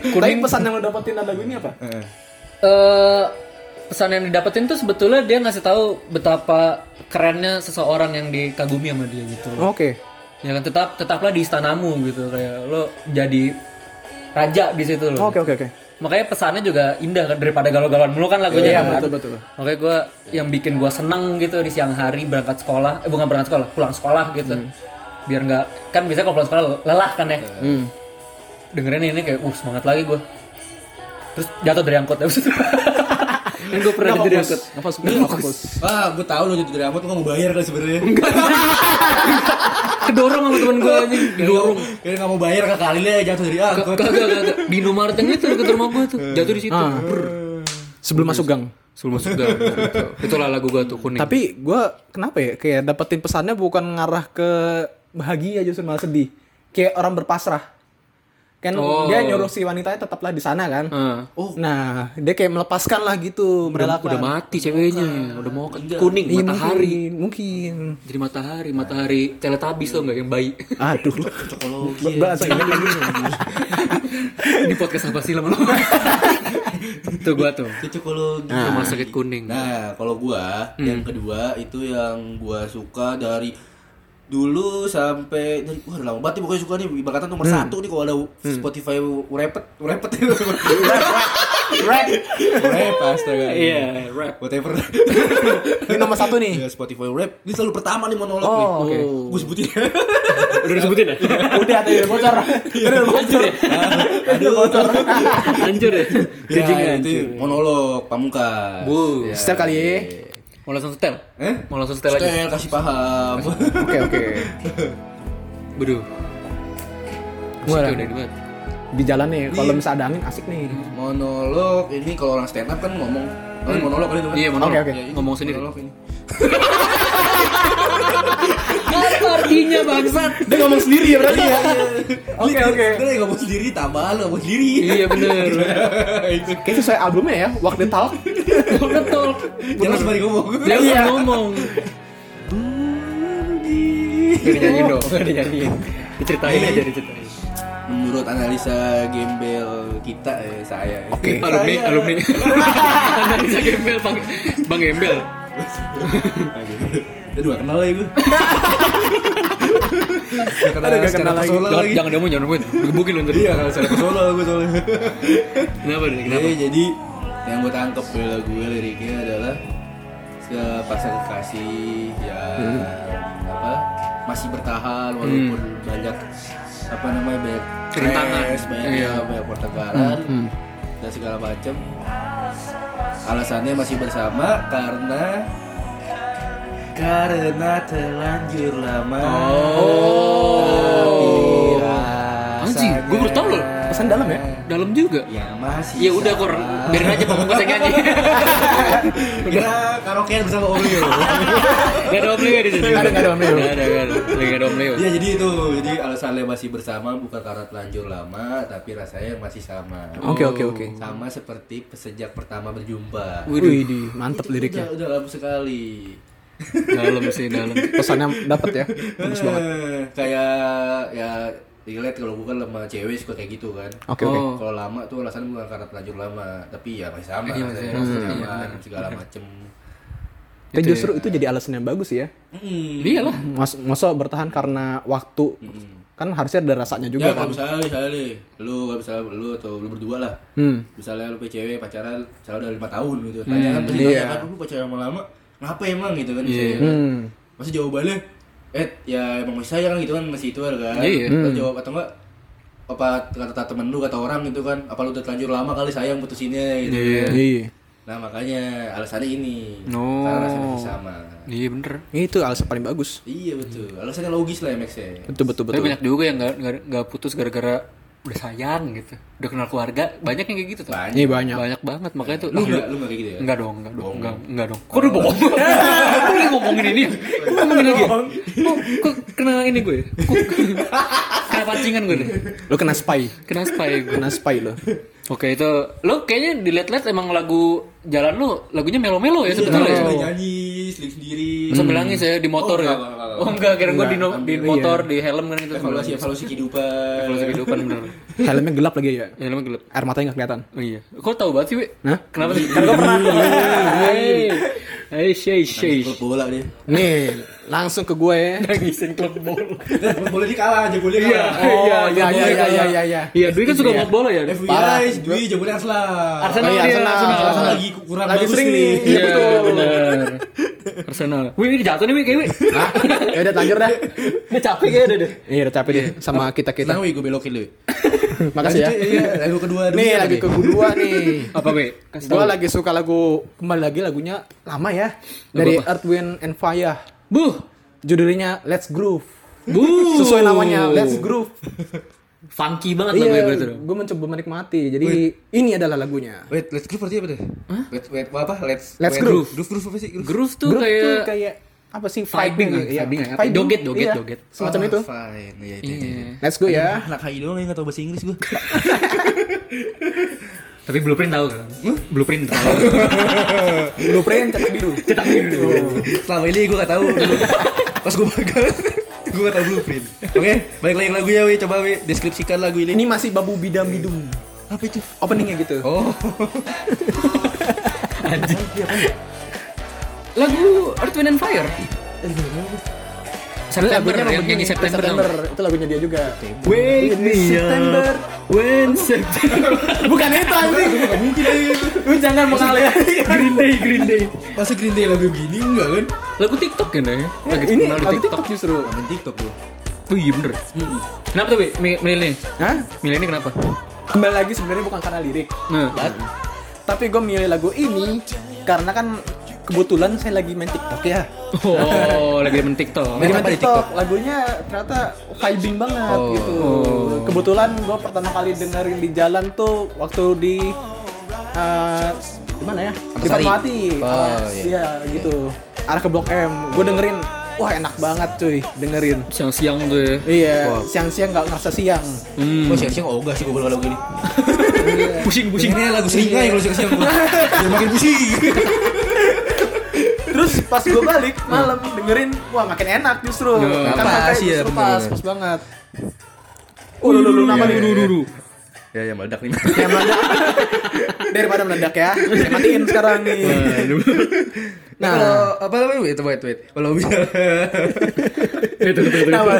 [SPEAKER 1] Tapi pesan yang lo dapetin dari lagu ini apa?
[SPEAKER 3] Heeh.
[SPEAKER 2] eh pesan yang didapetin tuh sebetulnya dia ngasih tahu betapa kerennya seseorang yang dikagumi sama dia gitu.
[SPEAKER 1] Oke.
[SPEAKER 2] Ya kan tetap tetaplah di istanamu gitu kayak lo jadi raja di situ lo.
[SPEAKER 1] Oke, oke, oke.
[SPEAKER 2] Makanya pesannya juga indah kan daripada galau-galauan mulu kan lagunya.
[SPEAKER 1] Iya,
[SPEAKER 2] kan?
[SPEAKER 1] betul, betul.
[SPEAKER 2] Makanya gue yang bikin gue seneng gitu di siang hari berangkat sekolah, eh bukan berangkat sekolah, pulang sekolah gitu. Biar nggak kan biasanya kalau pulang sekolah lelah kan ya.
[SPEAKER 1] Hmm.
[SPEAKER 2] Dengerin ini kayak uh semangat lagi gue. Terus jatuh dari angkot [LAUGHS] ya. Yang gue pernah jatuh dari angkot.
[SPEAKER 1] Apa Nggak fokus.
[SPEAKER 3] Ah, gue tahu lo jadi dari amat, lo nggak mau bayar kan sebenarnya.
[SPEAKER 2] Kedorong sama temen gue anjing, didorong.
[SPEAKER 3] Kira nggak mau bayar ke kali lah jatuh dari angkot.
[SPEAKER 2] Kagak kagak di Indomaret yang itu deket rumah gue tuh. Jatuh di situ.
[SPEAKER 1] Ah.
[SPEAKER 2] Brr.
[SPEAKER 1] Sebelum masuk gang.
[SPEAKER 2] Sebelum masuk dalam itu. Itulah lagu gua tuh kuning.
[SPEAKER 1] Tapi gua kenapa ya kayak dapetin pesannya bukan ngarah ke bahagia justru malah sedih. Kayak orang berpasrah. Kan
[SPEAKER 2] Oh.
[SPEAKER 1] dia nyuruh si wanitanya tetaplah di sana kan.
[SPEAKER 2] Eh,
[SPEAKER 1] Nah, dia kayak melepaskan lah gitu,
[SPEAKER 2] udah,
[SPEAKER 1] merelakan.
[SPEAKER 2] udah mati ceweknya, udah mau ke- Ah. kuning
[SPEAKER 1] Iya, mungkin,
[SPEAKER 2] matahari.
[SPEAKER 1] mungkin.
[SPEAKER 2] Jadi matahari, matahari teletabis lo nggak yang bayi.
[SPEAKER 1] Aduh. [LAUGHS]
[SPEAKER 3] Cokologi.
[SPEAKER 1] Bahasa ini
[SPEAKER 2] Ini podcast apa sih lama-lama? tuh gua tuh.
[SPEAKER 3] Cokologi.
[SPEAKER 2] Rumah sakit kuning.
[SPEAKER 3] gitu. Nah, kalau gua yang kedua itu yang gua suka dari dulu sampai dari wah lama banget nih pokoknya suka nih bakatan nomor satu nih kalau ada Spotify urepet urepet
[SPEAKER 1] Rap.
[SPEAKER 3] [LAUGHS] urep astaga
[SPEAKER 2] Iya, rap.
[SPEAKER 3] whatever
[SPEAKER 1] Ini nomor satu nih.
[SPEAKER 3] ya Spotify rap ini selalu pertama nih monolog nih
[SPEAKER 1] Oh, oke.
[SPEAKER 3] gue sebutin
[SPEAKER 2] Udah disebutin ya?
[SPEAKER 1] Udah tadi udah bocor. Udah bocor.
[SPEAKER 3] aduh
[SPEAKER 2] Hancur ya?
[SPEAKER 3] [LAUGHS] ya,
[SPEAKER 2] Bridgingnya hancur.
[SPEAKER 3] itu monolog pamungkas
[SPEAKER 2] Bu.
[SPEAKER 3] Ya.
[SPEAKER 1] Setiap kali ya.
[SPEAKER 2] Mau langsung setel?
[SPEAKER 3] Eh?
[SPEAKER 2] Mau langsung setel aja?
[SPEAKER 3] Setel kasih paham
[SPEAKER 1] Oke, oke. Gua
[SPEAKER 2] Waduh. Musiknya
[SPEAKER 1] lah.
[SPEAKER 2] udah ini banget.
[SPEAKER 1] Di jalan nih, kalau misalnya ada angin asik nih.
[SPEAKER 3] monolog ini kalau orang stand up kan ngomong Oh, ini monolog kali itu kan
[SPEAKER 2] Iya, monolog.
[SPEAKER 1] Oke, oke.
[SPEAKER 3] ini
[SPEAKER 2] Ngomong sendiri.
[SPEAKER 3] monolog ini.
[SPEAKER 2] Apa artinya bangsat?
[SPEAKER 1] Dia ngomong sendiri ya
[SPEAKER 3] Iya,
[SPEAKER 1] berarti [LAUGHS] ya.
[SPEAKER 3] Oke
[SPEAKER 1] Oke, oke.
[SPEAKER 3] Dia kan lagi ngomong sendiri tambahan lo ngomong sendiri. [LAUGHS]
[SPEAKER 2] Iya bener.
[SPEAKER 3] Itu.
[SPEAKER 1] Kayak sesuai albumnya ya, Walk the Talk.
[SPEAKER 2] Gua Betul.
[SPEAKER 3] Jelas balik ngomong.
[SPEAKER 1] Iya.
[SPEAKER 2] Dia udah ngomong.
[SPEAKER 3] Iya.
[SPEAKER 2] Gak dinyanyiin dong, gak dinyanyiin. Diceritain aja, diceritain.
[SPEAKER 3] Menurut analisa gembel kita eh, saya.
[SPEAKER 1] Oke.
[SPEAKER 2] Alumni,
[SPEAKER 3] Saya.
[SPEAKER 2] alumni. Analisa gembel, bang, bang gembel.
[SPEAKER 3] Aduh, gak kenal lagi gue. Gak kenal,
[SPEAKER 1] Aduh, gak
[SPEAKER 3] secara
[SPEAKER 1] kenal lagi.
[SPEAKER 3] personal
[SPEAKER 2] Jangan, jangan demuin, jangan demuin. Gebukin lu ntar.
[SPEAKER 3] Iya, kalau secara personal gue soalnya.
[SPEAKER 2] Kenapa deh?
[SPEAKER 1] Iya.
[SPEAKER 2] Kenapa?
[SPEAKER 3] Jadi, Iya, jadi yang gue tangkep dari lagu gue liriknya adalah ke pasang kekasih ya
[SPEAKER 2] Hmm.
[SPEAKER 3] apa masih bertahan walaupun banyak apa namanya banyak
[SPEAKER 2] Rintangan.
[SPEAKER 3] stres, banyak
[SPEAKER 2] Iya. Hmm.
[SPEAKER 3] ya, banyak pertengkaran dan segala macam alasannya masih bersama karena karena terlanjur lama
[SPEAKER 2] Oh.
[SPEAKER 3] Tapi rasanya-
[SPEAKER 2] Anjing, gua baru tahu loh.
[SPEAKER 1] Pesan dalam ya.
[SPEAKER 2] Dalam juga.
[SPEAKER 3] Ya
[SPEAKER 2] Ya
[SPEAKER 3] masih
[SPEAKER 2] udah kor,
[SPEAKER 3] sama.
[SPEAKER 2] biarin aja pamungkas yang nyanyi.
[SPEAKER 3] Kita karaokean bersama oh, iya. Om Leo.
[SPEAKER 2] [LAUGHS] Gak ada Om Leo di sini.
[SPEAKER 1] Nggak ada, nggak ada Om Leo.
[SPEAKER 2] Nggak ada, nggak ada. Lagi nggak ada Om Leo.
[SPEAKER 3] ya jadi itu, jadi alasannya masih bersama bukan karena telanjur lama, tapi rasanya masih sama.
[SPEAKER 1] Oke, oke, oke.
[SPEAKER 3] Sama seperti sejak pertama berjumpa.
[SPEAKER 2] Waduh.
[SPEAKER 1] Wih, di mantep liriknya.
[SPEAKER 3] Udah, udah lama sekali.
[SPEAKER 2] Dalam sih, dalam.
[SPEAKER 1] Pesannya dapat ya. Bagus banget.
[SPEAKER 3] Eh, [LAUGHS] Kayak ya relate kalau bukan sama cewek suka kayak gitu kan.
[SPEAKER 1] Oke, oke.
[SPEAKER 2] Oh.
[SPEAKER 3] Kalau lama tuh alasan bukan karena telanjur lama, tapi ya masih sama,
[SPEAKER 2] Iya,
[SPEAKER 3] rasanya,
[SPEAKER 2] masih
[SPEAKER 3] masih
[SPEAKER 2] sama. Iya,
[SPEAKER 3] nyaman,
[SPEAKER 2] benar.
[SPEAKER 3] segala macem.
[SPEAKER 1] Tapi
[SPEAKER 2] Itu
[SPEAKER 1] justru itu jadi alasan yang bagus ya.
[SPEAKER 3] Mm.
[SPEAKER 2] Iya lah.
[SPEAKER 1] Mas, masa bertahan karena waktu kan harusnya ada rasanya juga
[SPEAKER 3] Ya
[SPEAKER 1] kan.
[SPEAKER 3] kalau misalnya misalnya nih, lu kalau misalnya lu atau lu berdua lah
[SPEAKER 1] Hmm.
[SPEAKER 3] misalnya lu punya cewek pacaran misalnya udah lima tahun gitu tanya kan pasti
[SPEAKER 1] iya.
[SPEAKER 3] tanya kan lu pacaran lama-lama ngapa emang gitu kan
[SPEAKER 2] Iya.
[SPEAKER 3] misalnya kan.
[SPEAKER 1] Hmm.
[SPEAKER 3] Masih jawabannya eh ya emang masih sayang gitu kan masih itu kan
[SPEAKER 2] Iya.
[SPEAKER 3] Atau jawab atau enggak apa kata temen lu kata orang gitu kan apa lu udah terlanjur lama kali sayang putusinnya gitu
[SPEAKER 2] Iya.
[SPEAKER 1] Iya.
[SPEAKER 3] nah makanya alasannya ini
[SPEAKER 2] No.
[SPEAKER 3] karena alasannya masih sama
[SPEAKER 2] Iya bener.
[SPEAKER 1] Itu alasan paling bagus.
[SPEAKER 3] iya betul alasannya logis lah ya Max ya
[SPEAKER 1] Betul betul
[SPEAKER 2] Tapi
[SPEAKER 1] betul.
[SPEAKER 2] banyak juga yang nggak nggak- nggak putus gara-gara udah sayang gitu, udah kenal keluarga, banyak yang kayak gitu tuh.
[SPEAKER 3] banyak
[SPEAKER 1] Iya banyak.
[SPEAKER 2] Banyak banget makanya tuh.
[SPEAKER 3] lu
[SPEAKER 2] ah,
[SPEAKER 3] nggak lu nggak kayak gitu ya
[SPEAKER 2] Enggak dong, enggak dong, enggak, enggak dong. Kok udah
[SPEAKER 1] [LAUGHS]
[SPEAKER 2] bohong? Kok lagi ngomongin ini? ya? Kok ngomongin lagi? ya? Kok, kok kena ini gue? Kok [LAUGHS] kena pancingan gue nih?
[SPEAKER 1] Lu kena spy.
[SPEAKER 2] Kena spy gue.
[SPEAKER 1] Kena spy lu.
[SPEAKER 2] Oke itu, lo kayaknya dilihat-lihat emang lagu jalan lo lagunya melo-melo ya sebetulnya.
[SPEAKER 3] Iya,
[SPEAKER 2] ya?
[SPEAKER 3] sambil nyanyi, seling sendiri.
[SPEAKER 2] Sambil nangis ya di motor
[SPEAKER 3] Oh,
[SPEAKER 2] ya.
[SPEAKER 3] enggak, enggak, enggak,
[SPEAKER 2] Oh enggak, kira gue di, no- di
[SPEAKER 3] Ambil,
[SPEAKER 2] motor, di helm kan itu.
[SPEAKER 3] Evaluasi evaluasi kehidupan.
[SPEAKER 2] Kalau kehidupan bener.
[SPEAKER 1] Helmnya gelap lagi ya.
[SPEAKER 2] Helm gelap.
[SPEAKER 1] Air matanya nggak kelihatan.
[SPEAKER 2] Oh iya. Kok tahu banget sih, Wi?
[SPEAKER 1] Hah?
[SPEAKER 2] Kenapa sih? Kan gue pernah. Hei. Hei, shay, shay.
[SPEAKER 3] Klub bola dia.
[SPEAKER 1] Nih, langsung ke gue ya.
[SPEAKER 2] Nangisin klub bola.
[SPEAKER 3] Klub bola dia kalah, jebulnya kalah.
[SPEAKER 1] Oh, iya iya iya iya iya. iya.
[SPEAKER 2] Iya, Dwi kan suka ngomong bola ya.
[SPEAKER 3] FBI,
[SPEAKER 1] Parah.
[SPEAKER 3] Dwi jebulnya Arsenal.
[SPEAKER 2] Arsenal
[SPEAKER 1] Oh, iya,
[SPEAKER 2] dia,
[SPEAKER 1] Arsenal,
[SPEAKER 2] Arsenal.
[SPEAKER 3] Arsenal lagi kurang
[SPEAKER 1] Lagi
[SPEAKER 3] bagus
[SPEAKER 1] sering nih.
[SPEAKER 2] Iya,
[SPEAKER 1] Iya, betul.
[SPEAKER 2] benar. Arsenal. Wih, ini jatuh nih, Wi, kayak Wi.
[SPEAKER 1] Hah? Ya udah lanjut dah.
[SPEAKER 2] Ini capek kayaknya deh.
[SPEAKER 1] Iya udah capek deh sama kita-kita.
[SPEAKER 3] Senang gue belokin lu.
[SPEAKER 1] Makasih ya.
[SPEAKER 3] Lanjut, iya, Lagu kedua Dwi
[SPEAKER 1] Nih
[SPEAKER 3] apa
[SPEAKER 1] lagu kedua nih.
[SPEAKER 2] Apa, Wi? Kasih
[SPEAKER 1] Gue
[SPEAKER 2] tahu.
[SPEAKER 1] lagi suka lagu kembali lagi lagunya lama ya
[SPEAKER 2] Lagu
[SPEAKER 1] dari
[SPEAKER 2] apa?
[SPEAKER 1] Earth Wind and Fire.
[SPEAKER 2] Buh.
[SPEAKER 1] Judulnya Let's Groove.
[SPEAKER 2] Buh.
[SPEAKER 1] Sesuai namanya Let's Groove.
[SPEAKER 2] funky banget lah gue
[SPEAKER 1] Iya,
[SPEAKER 2] berarti dong.
[SPEAKER 1] gue mencoba menikmati. Jadi ini adalah lagunya.
[SPEAKER 3] Wait, let's groove artinya apa deh? Wait, wait, apa? Let's,
[SPEAKER 1] Let's
[SPEAKER 3] wait,
[SPEAKER 1] groove.
[SPEAKER 3] Groove, groove apa sih? Groove.
[SPEAKER 2] Groove tuh
[SPEAKER 1] Grup
[SPEAKER 2] kayak
[SPEAKER 1] tuh kayak apa sih
[SPEAKER 2] Vibing,
[SPEAKER 1] gitu, iya,
[SPEAKER 2] vibing, nggak ah, ngerti.
[SPEAKER 1] vibing.
[SPEAKER 2] Joget, joget,
[SPEAKER 1] Iya,
[SPEAKER 2] joget.
[SPEAKER 1] Semacam
[SPEAKER 3] Ah,
[SPEAKER 1] itu.
[SPEAKER 3] Fine, iya, itu, itu,
[SPEAKER 2] Iya.
[SPEAKER 3] itu.
[SPEAKER 1] Let's go
[SPEAKER 2] [LAUGHS]
[SPEAKER 1] ya.
[SPEAKER 3] Anak HI doang yang gak tau bahasa Inggris gue.
[SPEAKER 2] Tapi blueprint tahu kan? Blueprint tahu.
[SPEAKER 1] Blueprint cetak biru. Cetak biru.
[SPEAKER 3] Selama ini gue gak tau dulu. Pas gue magang, gue gak tau blueprint. Oke, balik lagi ke lagunya, Wi. Coba, Wi, deskripsikan lagu ini.
[SPEAKER 1] Ini masih babu bidam bidum.
[SPEAKER 3] Apa itu?
[SPEAKER 1] Openingnya gitu.
[SPEAKER 3] Oh,
[SPEAKER 2] Lagu Earth, Wind and Fire. September
[SPEAKER 1] Lagunya
[SPEAKER 2] yang
[SPEAKER 1] begini,
[SPEAKER 2] nyanyi September.
[SPEAKER 1] September.
[SPEAKER 2] dong.
[SPEAKER 1] Itu lagunya dia juga.
[SPEAKER 2] Wake me
[SPEAKER 1] September.
[SPEAKER 2] up when September.
[SPEAKER 1] [LAUGHS] Bukan itu anjing.
[SPEAKER 3] gak mungkin aja.
[SPEAKER 1] Lu jangan mengalir.
[SPEAKER 2] [LAUGHS] Green Day, Green Day.
[SPEAKER 3] Masa Green Day lagu gini enggak kan?
[SPEAKER 2] Lagu TikTok kan ya? Lagi
[SPEAKER 1] Ini
[SPEAKER 2] terkenal di
[SPEAKER 1] lagu
[SPEAKER 2] TikTok.
[SPEAKER 1] TikTok justru.
[SPEAKER 3] Amin TikTok gue.
[SPEAKER 2] Tuh iya bener. Kenapa tuh, Bi? Mi- Milih ini.
[SPEAKER 1] Hah?
[SPEAKER 2] Milih ini kenapa?
[SPEAKER 1] Kembali lagi sebenarnya bukan karena lirik.
[SPEAKER 2] Nah,
[SPEAKER 1] Tapi gue milih lagu ini karena kan kebetulan saya lagi main TikTok ya.
[SPEAKER 2] oh, lagi main
[SPEAKER 1] Lagi
[SPEAKER 2] TikTok.
[SPEAKER 3] Main
[SPEAKER 1] main
[SPEAKER 3] apa di
[SPEAKER 1] TikTok, lagunya ternyata vibing banget
[SPEAKER 3] Oh.
[SPEAKER 1] gitu. Kebetulan gue pertama kali dengerin di jalan tuh waktu di eh gimana ya? Di
[SPEAKER 3] Antasari.
[SPEAKER 1] Fatmawati.
[SPEAKER 3] Oh,
[SPEAKER 1] Ah,
[SPEAKER 3] iya.
[SPEAKER 1] iya, gitu. Arah ke Blok M. Gue dengerin, wah enak banget cuy dengerin.
[SPEAKER 2] Siang-siang tuh ya.
[SPEAKER 1] Iya, siang-siang nggak ngerasa siang.
[SPEAKER 2] Hmm.
[SPEAKER 3] Gue siang-siang ogah Oh, sih gue baru lagu gini.
[SPEAKER 2] Pusing, pusing.
[SPEAKER 3] Pusingnya lagu seringai kalau siang-siang gue. Dia makin pusing.
[SPEAKER 1] Terus pas gue balik
[SPEAKER 3] Hmm.
[SPEAKER 1] malam dengerin, wah makin enak justru.
[SPEAKER 2] Nah,
[SPEAKER 1] Kan
[SPEAKER 3] pas,
[SPEAKER 1] makanya
[SPEAKER 3] iya,
[SPEAKER 1] justru
[SPEAKER 3] bener,
[SPEAKER 1] pas,
[SPEAKER 3] bener.
[SPEAKER 1] pas banget. Oh, lu, lu, lu, nama nih?
[SPEAKER 3] [LAUGHS] Ya, ya meledak nih.
[SPEAKER 1] yang meledak daripada meledak ya saya matiin sekarang nih
[SPEAKER 3] Nah,
[SPEAKER 1] Nah.
[SPEAKER 3] kalau apa namanya? Wait, wait, wait. Kalau misalnya
[SPEAKER 2] Itu, itu, itu.
[SPEAKER 1] Kenapa?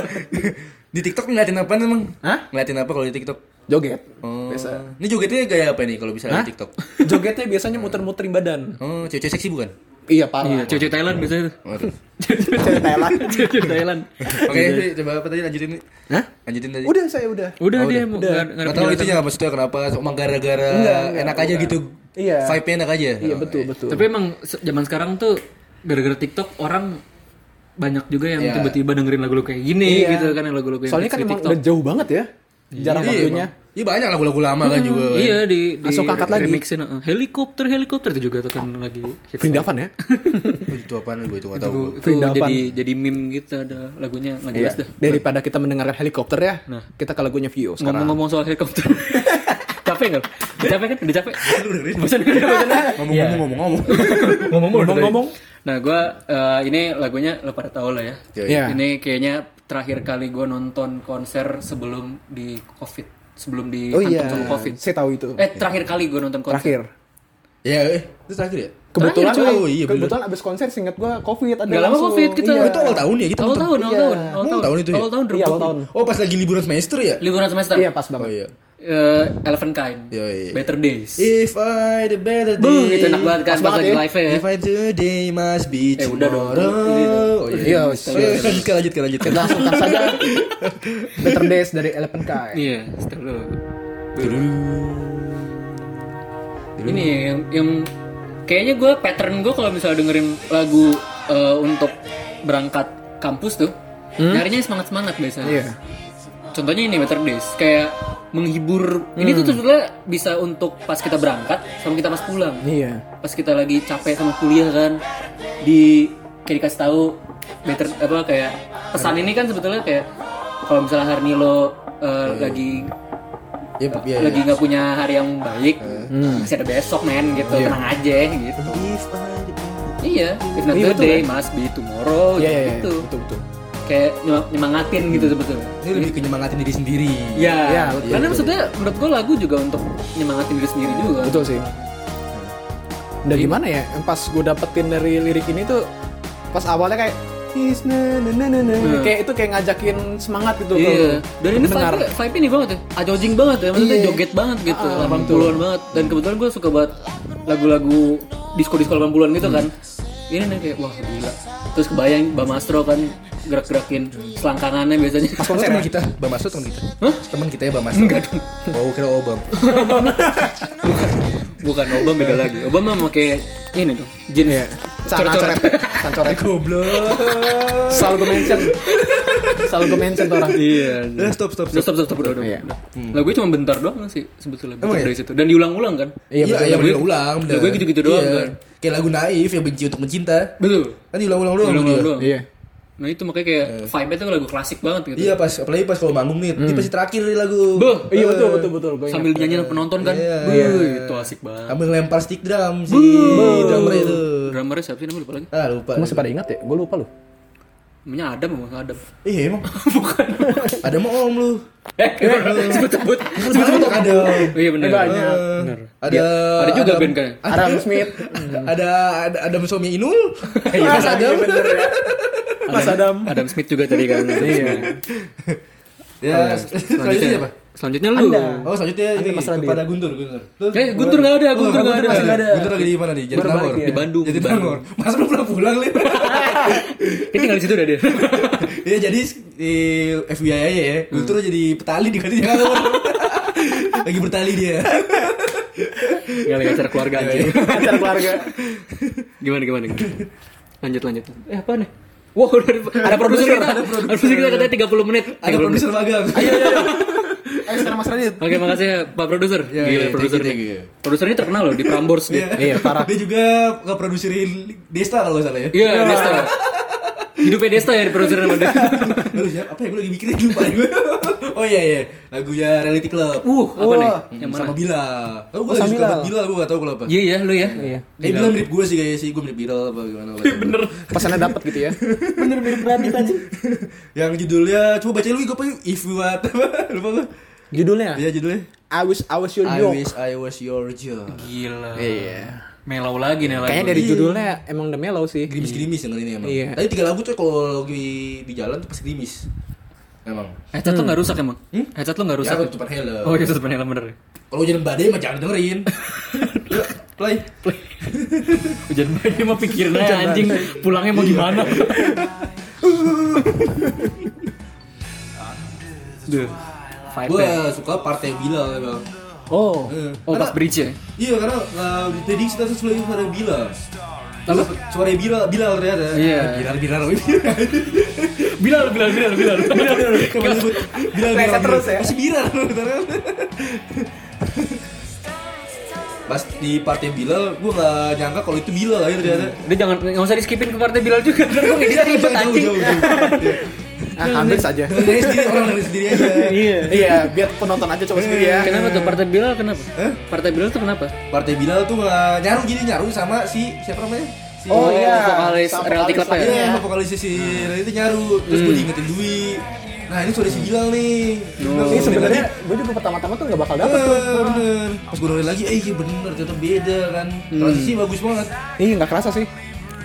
[SPEAKER 3] [LAUGHS] di TikTok ngeliatin apa emang?
[SPEAKER 1] Hah?
[SPEAKER 3] Ngeliatin apa kalau di TikTok?
[SPEAKER 1] joget
[SPEAKER 3] Oh.
[SPEAKER 1] Biasa.
[SPEAKER 3] Ini jogetnya gaya apa nih kalau misalnya di TikTok?
[SPEAKER 1] jogetnya biasanya muter-muterin badan
[SPEAKER 3] Oh, cewek-cewek seksi bukan? Oh,
[SPEAKER 1] iya
[SPEAKER 2] Iya,
[SPEAKER 1] parah
[SPEAKER 2] cuci Thailand biasanya tuh. [LAUGHS]
[SPEAKER 3] Waduh.
[SPEAKER 1] Cewek Thailand
[SPEAKER 2] Cuci Thailand.
[SPEAKER 3] Oke, sih, coba apa tadi lanjutin nih.
[SPEAKER 1] Hah?
[SPEAKER 3] Lanjutin tadi.
[SPEAKER 1] udah saya udah
[SPEAKER 2] Gitu. Udah dia mau
[SPEAKER 1] udah.
[SPEAKER 2] nggak- nggak
[SPEAKER 3] Gak tau
[SPEAKER 2] ada
[SPEAKER 3] itunya maksudnya kenapa Cuma gara-gara
[SPEAKER 1] Enggak, enggak,
[SPEAKER 3] enak aja gitu
[SPEAKER 1] Iya.
[SPEAKER 3] Vibe-nya enak aja
[SPEAKER 1] iya
[SPEAKER 3] Oh,
[SPEAKER 1] betul betul
[SPEAKER 2] Tapi emang se- zaman sekarang tuh gara-gara TikTok orang banyak juga yang
[SPEAKER 3] Iya.
[SPEAKER 2] tiba-tiba dengerin lagu-lagu kayak
[SPEAKER 1] Iya.
[SPEAKER 2] gini gitu kan yang lagu-lagu yang
[SPEAKER 1] soalnya
[SPEAKER 2] hits
[SPEAKER 1] kan
[SPEAKER 2] di
[SPEAKER 1] emang
[SPEAKER 2] TikTok.
[SPEAKER 1] udah jauh banget ya jarang
[SPEAKER 3] Iya,
[SPEAKER 1] waktunya
[SPEAKER 3] emang. Iya banyak lagu-lagu lama kan juga kan.
[SPEAKER 2] Iya di, di
[SPEAKER 1] Langsung angkat lagi.
[SPEAKER 2] remixin, uh, helikopter helikopter itu juga tuh kan lagi hits.
[SPEAKER 1] pindahan ya
[SPEAKER 3] Oh, Itu apaan gue itu gak tau
[SPEAKER 2] Itu-
[SPEAKER 3] gue.
[SPEAKER 2] itu jadi jadi meme gitu ada
[SPEAKER 1] Iya.
[SPEAKER 2] lagunya nggak jelas dah.
[SPEAKER 1] daripada kita mendengarkan helikopter ya
[SPEAKER 2] Nah.
[SPEAKER 1] kita ke lagunya view sekarang
[SPEAKER 2] Ngomong-ngomong
[SPEAKER 1] [LAUGHS]
[SPEAKER 2] soal helikopter. capek nggak? Capek kan? Udah capek. Bosan. kan?
[SPEAKER 1] [LAUGHS]
[SPEAKER 2] Iya.
[SPEAKER 3] Ngomong-ngomong
[SPEAKER 2] [LAUGHS]
[SPEAKER 3] ngomong-ngomong
[SPEAKER 1] ngomong-ngomong
[SPEAKER 2] Nah, gue ini lagunya lo pada tau lah ya.
[SPEAKER 1] Iya.
[SPEAKER 2] Ini kayaknya terakhir kali gue nonton konser sebelum di COVID, sebelum di
[SPEAKER 1] oh iya
[SPEAKER 2] kantung COVID.
[SPEAKER 1] saya tahu itu
[SPEAKER 2] Eh, terakhir kali gue nonton konser.
[SPEAKER 1] terakhir
[SPEAKER 3] Iya eh itu terakhir ya?
[SPEAKER 1] kebetulan
[SPEAKER 2] kan
[SPEAKER 3] Terakhir, cuy. Oh, iya,
[SPEAKER 1] kebetulan abis konser singkat gua covid ada
[SPEAKER 2] Nggak lama
[SPEAKER 1] langsung.
[SPEAKER 2] COVID, kita-
[SPEAKER 1] Iya.
[SPEAKER 3] Oh, itu awal tahun ya gitu
[SPEAKER 2] Awal tahun, awal
[SPEAKER 1] Iya.
[SPEAKER 2] tahun, awal
[SPEAKER 3] Emang
[SPEAKER 2] tahun,
[SPEAKER 3] tahun itu ya?
[SPEAKER 2] awal tahun,
[SPEAKER 1] Iya, awal
[SPEAKER 2] 2020.
[SPEAKER 1] tahun.
[SPEAKER 3] Oh pas lagi liburan semester ya?
[SPEAKER 2] liburan semester.
[SPEAKER 1] Iya pas
[SPEAKER 3] Oh
[SPEAKER 1] banget.
[SPEAKER 3] iya
[SPEAKER 2] Eh, Eleven Kind,
[SPEAKER 3] Iya, iya.
[SPEAKER 2] Better Days.
[SPEAKER 3] If I the better
[SPEAKER 2] Buh,
[SPEAKER 3] day eh,
[SPEAKER 2] itu enak banget kan
[SPEAKER 1] Pas
[SPEAKER 2] pas
[SPEAKER 1] banget
[SPEAKER 2] lagi
[SPEAKER 1] ya.
[SPEAKER 2] live ya.
[SPEAKER 3] If I today must be
[SPEAKER 2] Eh, udah dong.
[SPEAKER 3] tomorrow Oh
[SPEAKER 1] Iya,
[SPEAKER 3] iya
[SPEAKER 1] serius.
[SPEAKER 3] Lanjutkan lanjutkan lanjutkan
[SPEAKER 1] Langsung kan saja Better Days dari Eleven ya? Kai.
[SPEAKER 2] Iya, setel dulu.
[SPEAKER 3] Dulu.
[SPEAKER 2] Ini ya, yang yang kayaknya gue pattern gue kalau misalnya dengerin lagu eh, untuk berangkat kampus tuh, nyarinya semangat semangat biasanya.
[SPEAKER 1] Iya.
[SPEAKER 2] Contohnya ini Better Days, kayak menghibur. Ini tuh sebenarnya bisa untuk pas kita berangkat sama kita pas pulang.
[SPEAKER 1] Iya.
[SPEAKER 2] Pas kita lagi capek sama kuliah kan, di kayak dikasih tahu better apa kayak pesan ini kan sebetulnya kayak kalau misalnya hari ini lo eh, lagi
[SPEAKER 3] Iya iya
[SPEAKER 2] lagi nggak punya hari yang baik
[SPEAKER 1] Eh.
[SPEAKER 2] Hmm. masih ada besok men gitu tenang aja gitu iya if not
[SPEAKER 1] Iya, betul,
[SPEAKER 2] today
[SPEAKER 1] kan?
[SPEAKER 2] must be tomorrow
[SPEAKER 1] Iya, iya, iya.
[SPEAKER 2] gitu
[SPEAKER 1] Betul, betul.
[SPEAKER 2] kayak nyem- nyemangatin gitu sebetulnya
[SPEAKER 3] Ini lebih ke nyemangatin diri sendiri
[SPEAKER 2] ya,
[SPEAKER 1] Iya,
[SPEAKER 3] betul,
[SPEAKER 2] karena
[SPEAKER 3] betul.
[SPEAKER 2] maksudnya menurut gue lagu juga untuk nyemangatin diri sendiri juga
[SPEAKER 1] Betul sih. Dan gimana ya? Yang pas gue dapetin dari lirik ini tuh pas awalnya kayak "Is na na na na na." kayak itu kayak ngajakin semangat gitu ke-
[SPEAKER 2] Iya, dan ini
[SPEAKER 1] pendengar.
[SPEAKER 2] vibe vibe ini banget ya, ajojing banget ya, maksudnya
[SPEAKER 1] Iya.
[SPEAKER 2] joget banget gitu,
[SPEAKER 1] Ah,
[SPEAKER 2] 80-an banget. Dan kebetulan gue suka banget lagu-lagu disco-disco 80-an gitu kan. Ini nih kayak wah gila. Terus kebayang Bang Astro kan gerak-gerakin selangkangannya
[SPEAKER 1] [LAUGHS]
[SPEAKER 2] biasanya.
[SPEAKER 1] Pas
[SPEAKER 3] Oh,
[SPEAKER 1] konser
[SPEAKER 3] teman
[SPEAKER 1] ya?
[SPEAKER 3] kita, Bang Masro teman kita.
[SPEAKER 2] Hah?
[SPEAKER 3] Teman kita ya Bang Masro. Enggak dong. Oh, kira Obam.
[SPEAKER 2] Bukan Obama beda lagi. Obama pakai ini dong, jeans
[SPEAKER 1] Iya. Sana coret. Sana coret.
[SPEAKER 3] [LAUGHS] Goblok.
[SPEAKER 1] Selalu gue mention. Selalu gue mention tuh orang.
[SPEAKER 2] Iya.
[SPEAKER 3] Eh, stop, stop,
[SPEAKER 2] Udah, stop,
[SPEAKER 3] stop.
[SPEAKER 2] stop, stop, udah, udah.
[SPEAKER 1] Iya.
[SPEAKER 2] udah. Lagunya cuma bentar doang sih sebetulnya. bentar
[SPEAKER 3] Emang ya?
[SPEAKER 2] dari situ. Dan diulang-ulang kan?
[SPEAKER 1] Iya,
[SPEAKER 3] Iya,
[SPEAKER 1] betul.
[SPEAKER 3] iya,
[SPEAKER 2] Lagunya-
[SPEAKER 3] bener ulang. bener.
[SPEAKER 2] lagunya gitu-gitu doang,
[SPEAKER 3] Iya.
[SPEAKER 2] kan?
[SPEAKER 3] Kayak lagu naif yang benci untuk mencinta.
[SPEAKER 2] Betul.
[SPEAKER 3] Kan diulang-ulang doang.
[SPEAKER 2] Diulang-ulang
[SPEAKER 3] dia.
[SPEAKER 2] doang.
[SPEAKER 1] Iya.
[SPEAKER 2] Nah itu makanya kayak vibe-nya tuh lagu klasik banget gitu.
[SPEAKER 3] Iya, pas apalagi pas kalau manggung nih, ini pasti terakhir nih lagu.
[SPEAKER 2] Beuh,
[SPEAKER 1] Iya betul betul betul. Gue
[SPEAKER 2] Sambil nyanyi penonton kan.
[SPEAKER 3] Iya.
[SPEAKER 2] Iya. Itu asik banget.
[SPEAKER 3] Sambil ngelempar stick drum si drummer itu.
[SPEAKER 2] Drummernya siapa sih namanya lupa lagi?
[SPEAKER 3] Ah, lupa.
[SPEAKER 1] masih pada ingat ya? Gue lupa lu.
[SPEAKER 2] Namanya Adam apa nggak Adam?
[SPEAKER 3] Iya, emang. [LAUGHS] Bukan. Ada mau om lu. Iya,
[SPEAKER 2] Eh,
[SPEAKER 3] [LAUGHS]
[SPEAKER 2] sebut-sebut.
[SPEAKER 3] Sebetulnya tak ada.
[SPEAKER 2] Oh iya benar.
[SPEAKER 1] Eh, banyak.
[SPEAKER 2] Benar.
[SPEAKER 3] Ada
[SPEAKER 2] Ada juga
[SPEAKER 3] eh, Adam-
[SPEAKER 2] band kan?
[SPEAKER 1] Adam Smith.
[SPEAKER 3] [LAUGHS] Ada ada Adam suami
[SPEAKER 2] [LAUGHS]
[SPEAKER 3] Inul.
[SPEAKER 2] Iya,
[SPEAKER 3] Mas Adam. [LAUGHS]
[SPEAKER 2] Oh,
[SPEAKER 3] Ya,
[SPEAKER 1] Mas Adam.
[SPEAKER 2] Adam Smith juga tadi kan. Iya.
[SPEAKER 3] Ya, selanjutnya apa?
[SPEAKER 2] Selanjutnya lu.
[SPEAKER 3] Oh, selanjutnya ini
[SPEAKER 1] Mas Radit.
[SPEAKER 3] kepada Guntur, Guntur. Lu-
[SPEAKER 2] Eh, Guntur nggak ada, Guntur nggak ada. iya.
[SPEAKER 3] Masih nggak ada. Guntur lagi di mana nih? Jadi
[SPEAKER 1] Baru balik
[SPEAKER 3] Tangor.
[SPEAKER 1] dia.
[SPEAKER 2] Di Bandung.
[SPEAKER 3] Jadi
[SPEAKER 2] di Bandung.
[SPEAKER 3] Tangor. Mas belum pernah pulang,
[SPEAKER 2] [LAUGHS]
[SPEAKER 3] Lin.
[SPEAKER 2] Dia tinggal di situ udah dia.
[SPEAKER 3] Iya, jadi di FBI aja ya.
[SPEAKER 2] Hmm.
[SPEAKER 3] Guntur jadi petani di kali Tangor. [LAUGHS] Lagi bertali dia.
[SPEAKER 2] Tinggal di acara keluarga
[SPEAKER 3] Iya,
[SPEAKER 2] aja.
[SPEAKER 1] Pacar keluarga.
[SPEAKER 2] Gimana gimana? gimana? Lanjut lanjut. Eh apa nih? Wah, udah ada, ada produser kita. Ada produser kita katanya 30 menit. 30
[SPEAKER 3] Ada
[SPEAKER 2] menit.
[SPEAKER 3] produser magang.
[SPEAKER 1] Ayo
[SPEAKER 2] Iya,
[SPEAKER 1] ayo. ayo. Ayo Eh, sekarang Mas Radit.
[SPEAKER 2] Oke, makasih ya, Pak Produser.
[SPEAKER 3] Ya, ya,
[SPEAKER 2] Gila,
[SPEAKER 3] thank
[SPEAKER 2] produser.
[SPEAKER 3] you, thank
[SPEAKER 2] nih.
[SPEAKER 3] you.
[SPEAKER 2] Produser ini terkenal loh di Prambors dia.
[SPEAKER 1] Iya, parah.
[SPEAKER 3] Dia juga ngeproduserin Desta kalau nggak salah ya.
[SPEAKER 2] Iya, Desta. Hidupnya Desta ya di produser nama dia.
[SPEAKER 3] Lalu siapa? Apa ya? Gue lagi mikirin lupa gue. Oh iya iya. Lagunya Reality Club.
[SPEAKER 2] Uh, apa
[SPEAKER 1] Wah.
[SPEAKER 2] nih?
[SPEAKER 3] Yang
[SPEAKER 2] Yang mana?
[SPEAKER 3] sama Bila. Oh,
[SPEAKER 1] Oh,
[SPEAKER 3] gue
[SPEAKER 1] sama
[SPEAKER 3] lagi suka banget
[SPEAKER 1] Bilal.
[SPEAKER 3] Bila, gue gak tau kenapa.
[SPEAKER 2] [LAUGHS] Iya ya, lu ya.
[SPEAKER 1] Iya.
[SPEAKER 3] Eh, Bila mirip gue sih kayaknya sih, gue mirip Bila apa gimana.
[SPEAKER 2] Iya,
[SPEAKER 3] Bener.
[SPEAKER 1] Pesannya dapat gitu ya. Bener bener Radit aja.
[SPEAKER 3] Yang judulnya, coba baca lu gue apa yuk? If you what, lupa gue.
[SPEAKER 2] Nah.
[SPEAKER 1] Judulnya.
[SPEAKER 3] Iya judulnya.
[SPEAKER 1] I wish I was your
[SPEAKER 3] I
[SPEAKER 1] joke.
[SPEAKER 3] wish I was your joke.
[SPEAKER 2] Gila.
[SPEAKER 1] Iya.
[SPEAKER 2] Melau lagi nih lagu.
[SPEAKER 1] Kayaknya dari judulnya emang the mellow sih.
[SPEAKER 3] Gerimis-gerimis yang ini emang.
[SPEAKER 1] Iya.
[SPEAKER 3] Tadi tiga lagu tuh kalau lagi di jalan tuh pasti gerimis. Emang.
[SPEAKER 2] Headset lo nggak rusak emang? Headset lo nggak rusak?
[SPEAKER 3] Ya, tutup helm.
[SPEAKER 2] Oh, iya, sebenarnya bener. ya.
[SPEAKER 3] Kalau hujan badai mah jangan dengerin.
[SPEAKER 2] [LAUGHS]
[SPEAKER 3] Yuk, Play.
[SPEAKER 2] Hujan badai mah pikirin aja anjing pulangnya mau gimana. Duh.
[SPEAKER 3] Gue
[SPEAKER 2] Vibe-nya.
[SPEAKER 3] suka partai Bila emang.
[SPEAKER 1] Oh.
[SPEAKER 3] Eh,
[SPEAKER 2] Oh, pas
[SPEAKER 3] karena-
[SPEAKER 2] bridge ya.
[SPEAKER 3] Iya karena uh, tadi kita tuh suara suara Bila.
[SPEAKER 2] Apa?
[SPEAKER 3] Suara Bila, Bila ternyata.
[SPEAKER 2] Iya.
[SPEAKER 3] Bila, Bila, Bila.
[SPEAKER 2] Bilal, Bilal, Bilal, Bilal.
[SPEAKER 3] Kamu nyebut Bila, Bila,
[SPEAKER 1] Pleset terus ya?
[SPEAKER 3] Masih Bila, ntar kan. Pas di partai Bila, gue nggak nyangka kalau itu Bila ya ternyata.
[SPEAKER 2] Dia jangan nggak usah di skipin ke partai Bilal juga. Ntar gue ngedit ribet
[SPEAKER 3] Jauh,
[SPEAKER 2] Iya, anjing.
[SPEAKER 3] jauh, jauh.
[SPEAKER 1] Ah, ambil saja.
[SPEAKER 3] Dengerin aja sendiri, orang dengerin sendiri aja.
[SPEAKER 1] Iya, biar penonton aja coba sendiri ya.
[SPEAKER 2] Kenapa tuh partai Bilal kenapa? Partai Bilal tuh kenapa? [LAUGHS]
[SPEAKER 3] Partai Bila tuh nggak nyaru gini nyaru sama si siapa namanya? Si
[SPEAKER 1] Oh, iya.
[SPEAKER 2] Vokalis
[SPEAKER 1] Sama
[SPEAKER 2] Reality
[SPEAKER 1] vokalis
[SPEAKER 2] Club ya. Hmm.
[SPEAKER 1] lagi.
[SPEAKER 3] Iya, sama vokalisnya si Ray itu nyaru, terus gue diingetin Dwi. Nah, ini suara si Bilal nih.
[SPEAKER 2] Oh.
[SPEAKER 3] Bener,
[SPEAKER 1] Ini
[SPEAKER 3] gua
[SPEAKER 1] sebenarnya
[SPEAKER 3] dengerin
[SPEAKER 1] gue juga pertama-tama tuh gak bakal
[SPEAKER 3] lagi.
[SPEAKER 1] dapet tuh.
[SPEAKER 3] Eh, bener. Pas gue dengerin lagi, eh iya bener, ternyata beda kan.
[SPEAKER 2] Hmm.
[SPEAKER 3] Transisi bagus banget.
[SPEAKER 1] Iya, gak kerasa sih.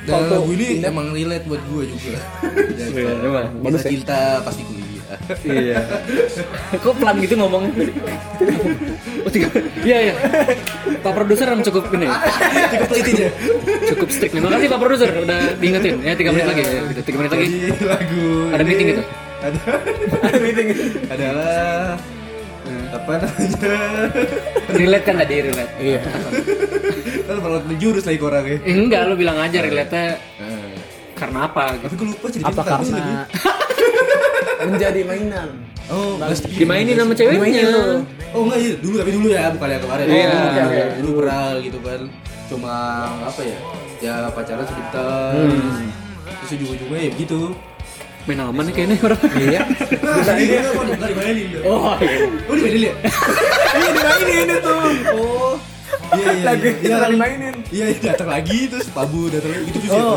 [SPEAKER 3] Dan
[SPEAKER 1] Kalau tuh
[SPEAKER 3] lagu ini emang relate buat gue
[SPEAKER 2] [LAUGHS]
[SPEAKER 3] juga. Dan
[SPEAKER 2] Iya, emang.
[SPEAKER 3] Bisa
[SPEAKER 1] Bagus ya.
[SPEAKER 3] cinta pasti kuliah.
[SPEAKER 2] [LAUGHS] Iya. Kok pelan gitu ngomongnya? [LAUGHS] Oh, tiga. Iya, iya. Pak produser emang cukup gini.
[SPEAKER 3] Cukup play aja.
[SPEAKER 2] Cukup strict. Terima kasih Pak produser udah diingetin. Ya 3 menit lagi. Ya, gitu. 3 menit lagi.
[SPEAKER 3] Iya. Jadi lagu
[SPEAKER 2] Ada
[SPEAKER 3] ini-
[SPEAKER 2] meeting gitu?
[SPEAKER 3] Ada
[SPEAKER 2] [LAUGHS]
[SPEAKER 3] meeting Adalah eh, Apa namanya [LAUGHS]
[SPEAKER 2] Relate kan tadi relate.
[SPEAKER 1] Iya.
[SPEAKER 3] Kan malah jurus lagi ke ya. Nah. orangnya
[SPEAKER 2] Eh, enggak, lu bilang aja relate-nya karena apa gitu.
[SPEAKER 3] Tapi gue lupa cerita
[SPEAKER 1] Apa
[SPEAKER 3] apa sih tadi?
[SPEAKER 1] karena [LAUGHS] menjadi mainan?
[SPEAKER 3] Oh, Mas-
[SPEAKER 2] Dimainin sama
[SPEAKER 1] Dimainin
[SPEAKER 2] ceweknya.
[SPEAKER 1] dulu.
[SPEAKER 3] Oh enggak iya, dulu tapi dulu ya, bukan yang kemarin.
[SPEAKER 2] Iya.
[SPEAKER 3] Dulu,
[SPEAKER 1] Iya, iya.
[SPEAKER 3] dulu pernah gitu kan. Cuma apa ya? Ya pacaran sebentar.
[SPEAKER 1] Hmm.
[SPEAKER 3] Terus ujung-ujungnya ya begitu.
[SPEAKER 2] Main aman nih kayaknya orang.
[SPEAKER 1] Iya.
[SPEAKER 3] Nah, ini kan enggak dimainin ya.
[SPEAKER 2] Oh, iya.
[SPEAKER 3] Oh, dimainin ya?
[SPEAKER 1] Iya, dimainin itu.
[SPEAKER 3] Oh. Iya, iya,
[SPEAKER 1] Lagi-
[SPEAKER 3] iya. Iya,
[SPEAKER 1] kita
[SPEAKER 3] kan.
[SPEAKER 1] dimainin.
[SPEAKER 3] Iya, iya, datang lagi terus pabu datang lagi gitu gitu.
[SPEAKER 1] Oh.
[SPEAKER 2] Oh,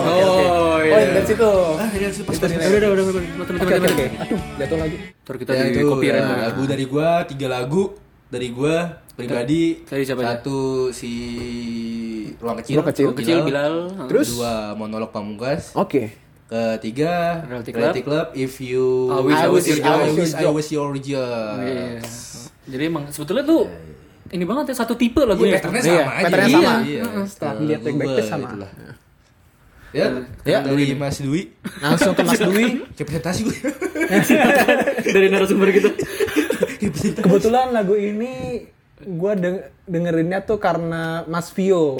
[SPEAKER 1] Oh,
[SPEAKER 2] iya.
[SPEAKER 1] iya, dari situ.
[SPEAKER 3] Ah, ini harus pas
[SPEAKER 2] [LAUGHS] Udah, udah, udah, udah, udah, teman-teman,
[SPEAKER 1] Oke, oke, oke.
[SPEAKER 2] teman-teman.
[SPEAKER 1] Aduh, jatuh lagi.
[SPEAKER 2] Ntar kita
[SPEAKER 3] Ya,
[SPEAKER 2] di
[SPEAKER 3] itu
[SPEAKER 2] copyright.
[SPEAKER 3] ya, lagu dari gua tiga lagu dari gua pribadi
[SPEAKER 2] Tadi siapa aja?
[SPEAKER 3] satu si ruang kecil
[SPEAKER 1] Ruang kecil.
[SPEAKER 2] Kecil Bilal. Oh.
[SPEAKER 1] Terus?
[SPEAKER 3] dua monolog pamungkas
[SPEAKER 1] Oke.
[SPEAKER 3] ketiga
[SPEAKER 2] Reality Club.
[SPEAKER 3] Reality Club if you
[SPEAKER 2] I wish I was your
[SPEAKER 3] I
[SPEAKER 1] job.
[SPEAKER 3] wish I was your Ya? job.
[SPEAKER 2] Iya. Jadi emang sebetulnya tuh ini banget ya satu tipe lagunya.
[SPEAKER 3] Patternnya
[SPEAKER 1] Iya,
[SPEAKER 3] sama aja.
[SPEAKER 1] patternnya
[SPEAKER 2] sama.
[SPEAKER 3] Iya,
[SPEAKER 1] Setelah dilihat back-back
[SPEAKER 3] gua,
[SPEAKER 1] sama.
[SPEAKER 3] itulah.
[SPEAKER 2] Iya.
[SPEAKER 3] Ya,
[SPEAKER 1] Ya,
[SPEAKER 3] dari Mas Dwi.
[SPEAKER 1] Langsung ke Mas [LAUGHS] Dwi.
[SPEAKER 3] Kayak presentasi [LAUGHS] gue.
[SPEAKER 2] [LAUGHS] dari narasumber gitu.
[SPEAKER 3] Kayak presentasi.
[SPEAKER 1] Kebetulan lagu ini gue dengerinnya tuh karena Mas Vio.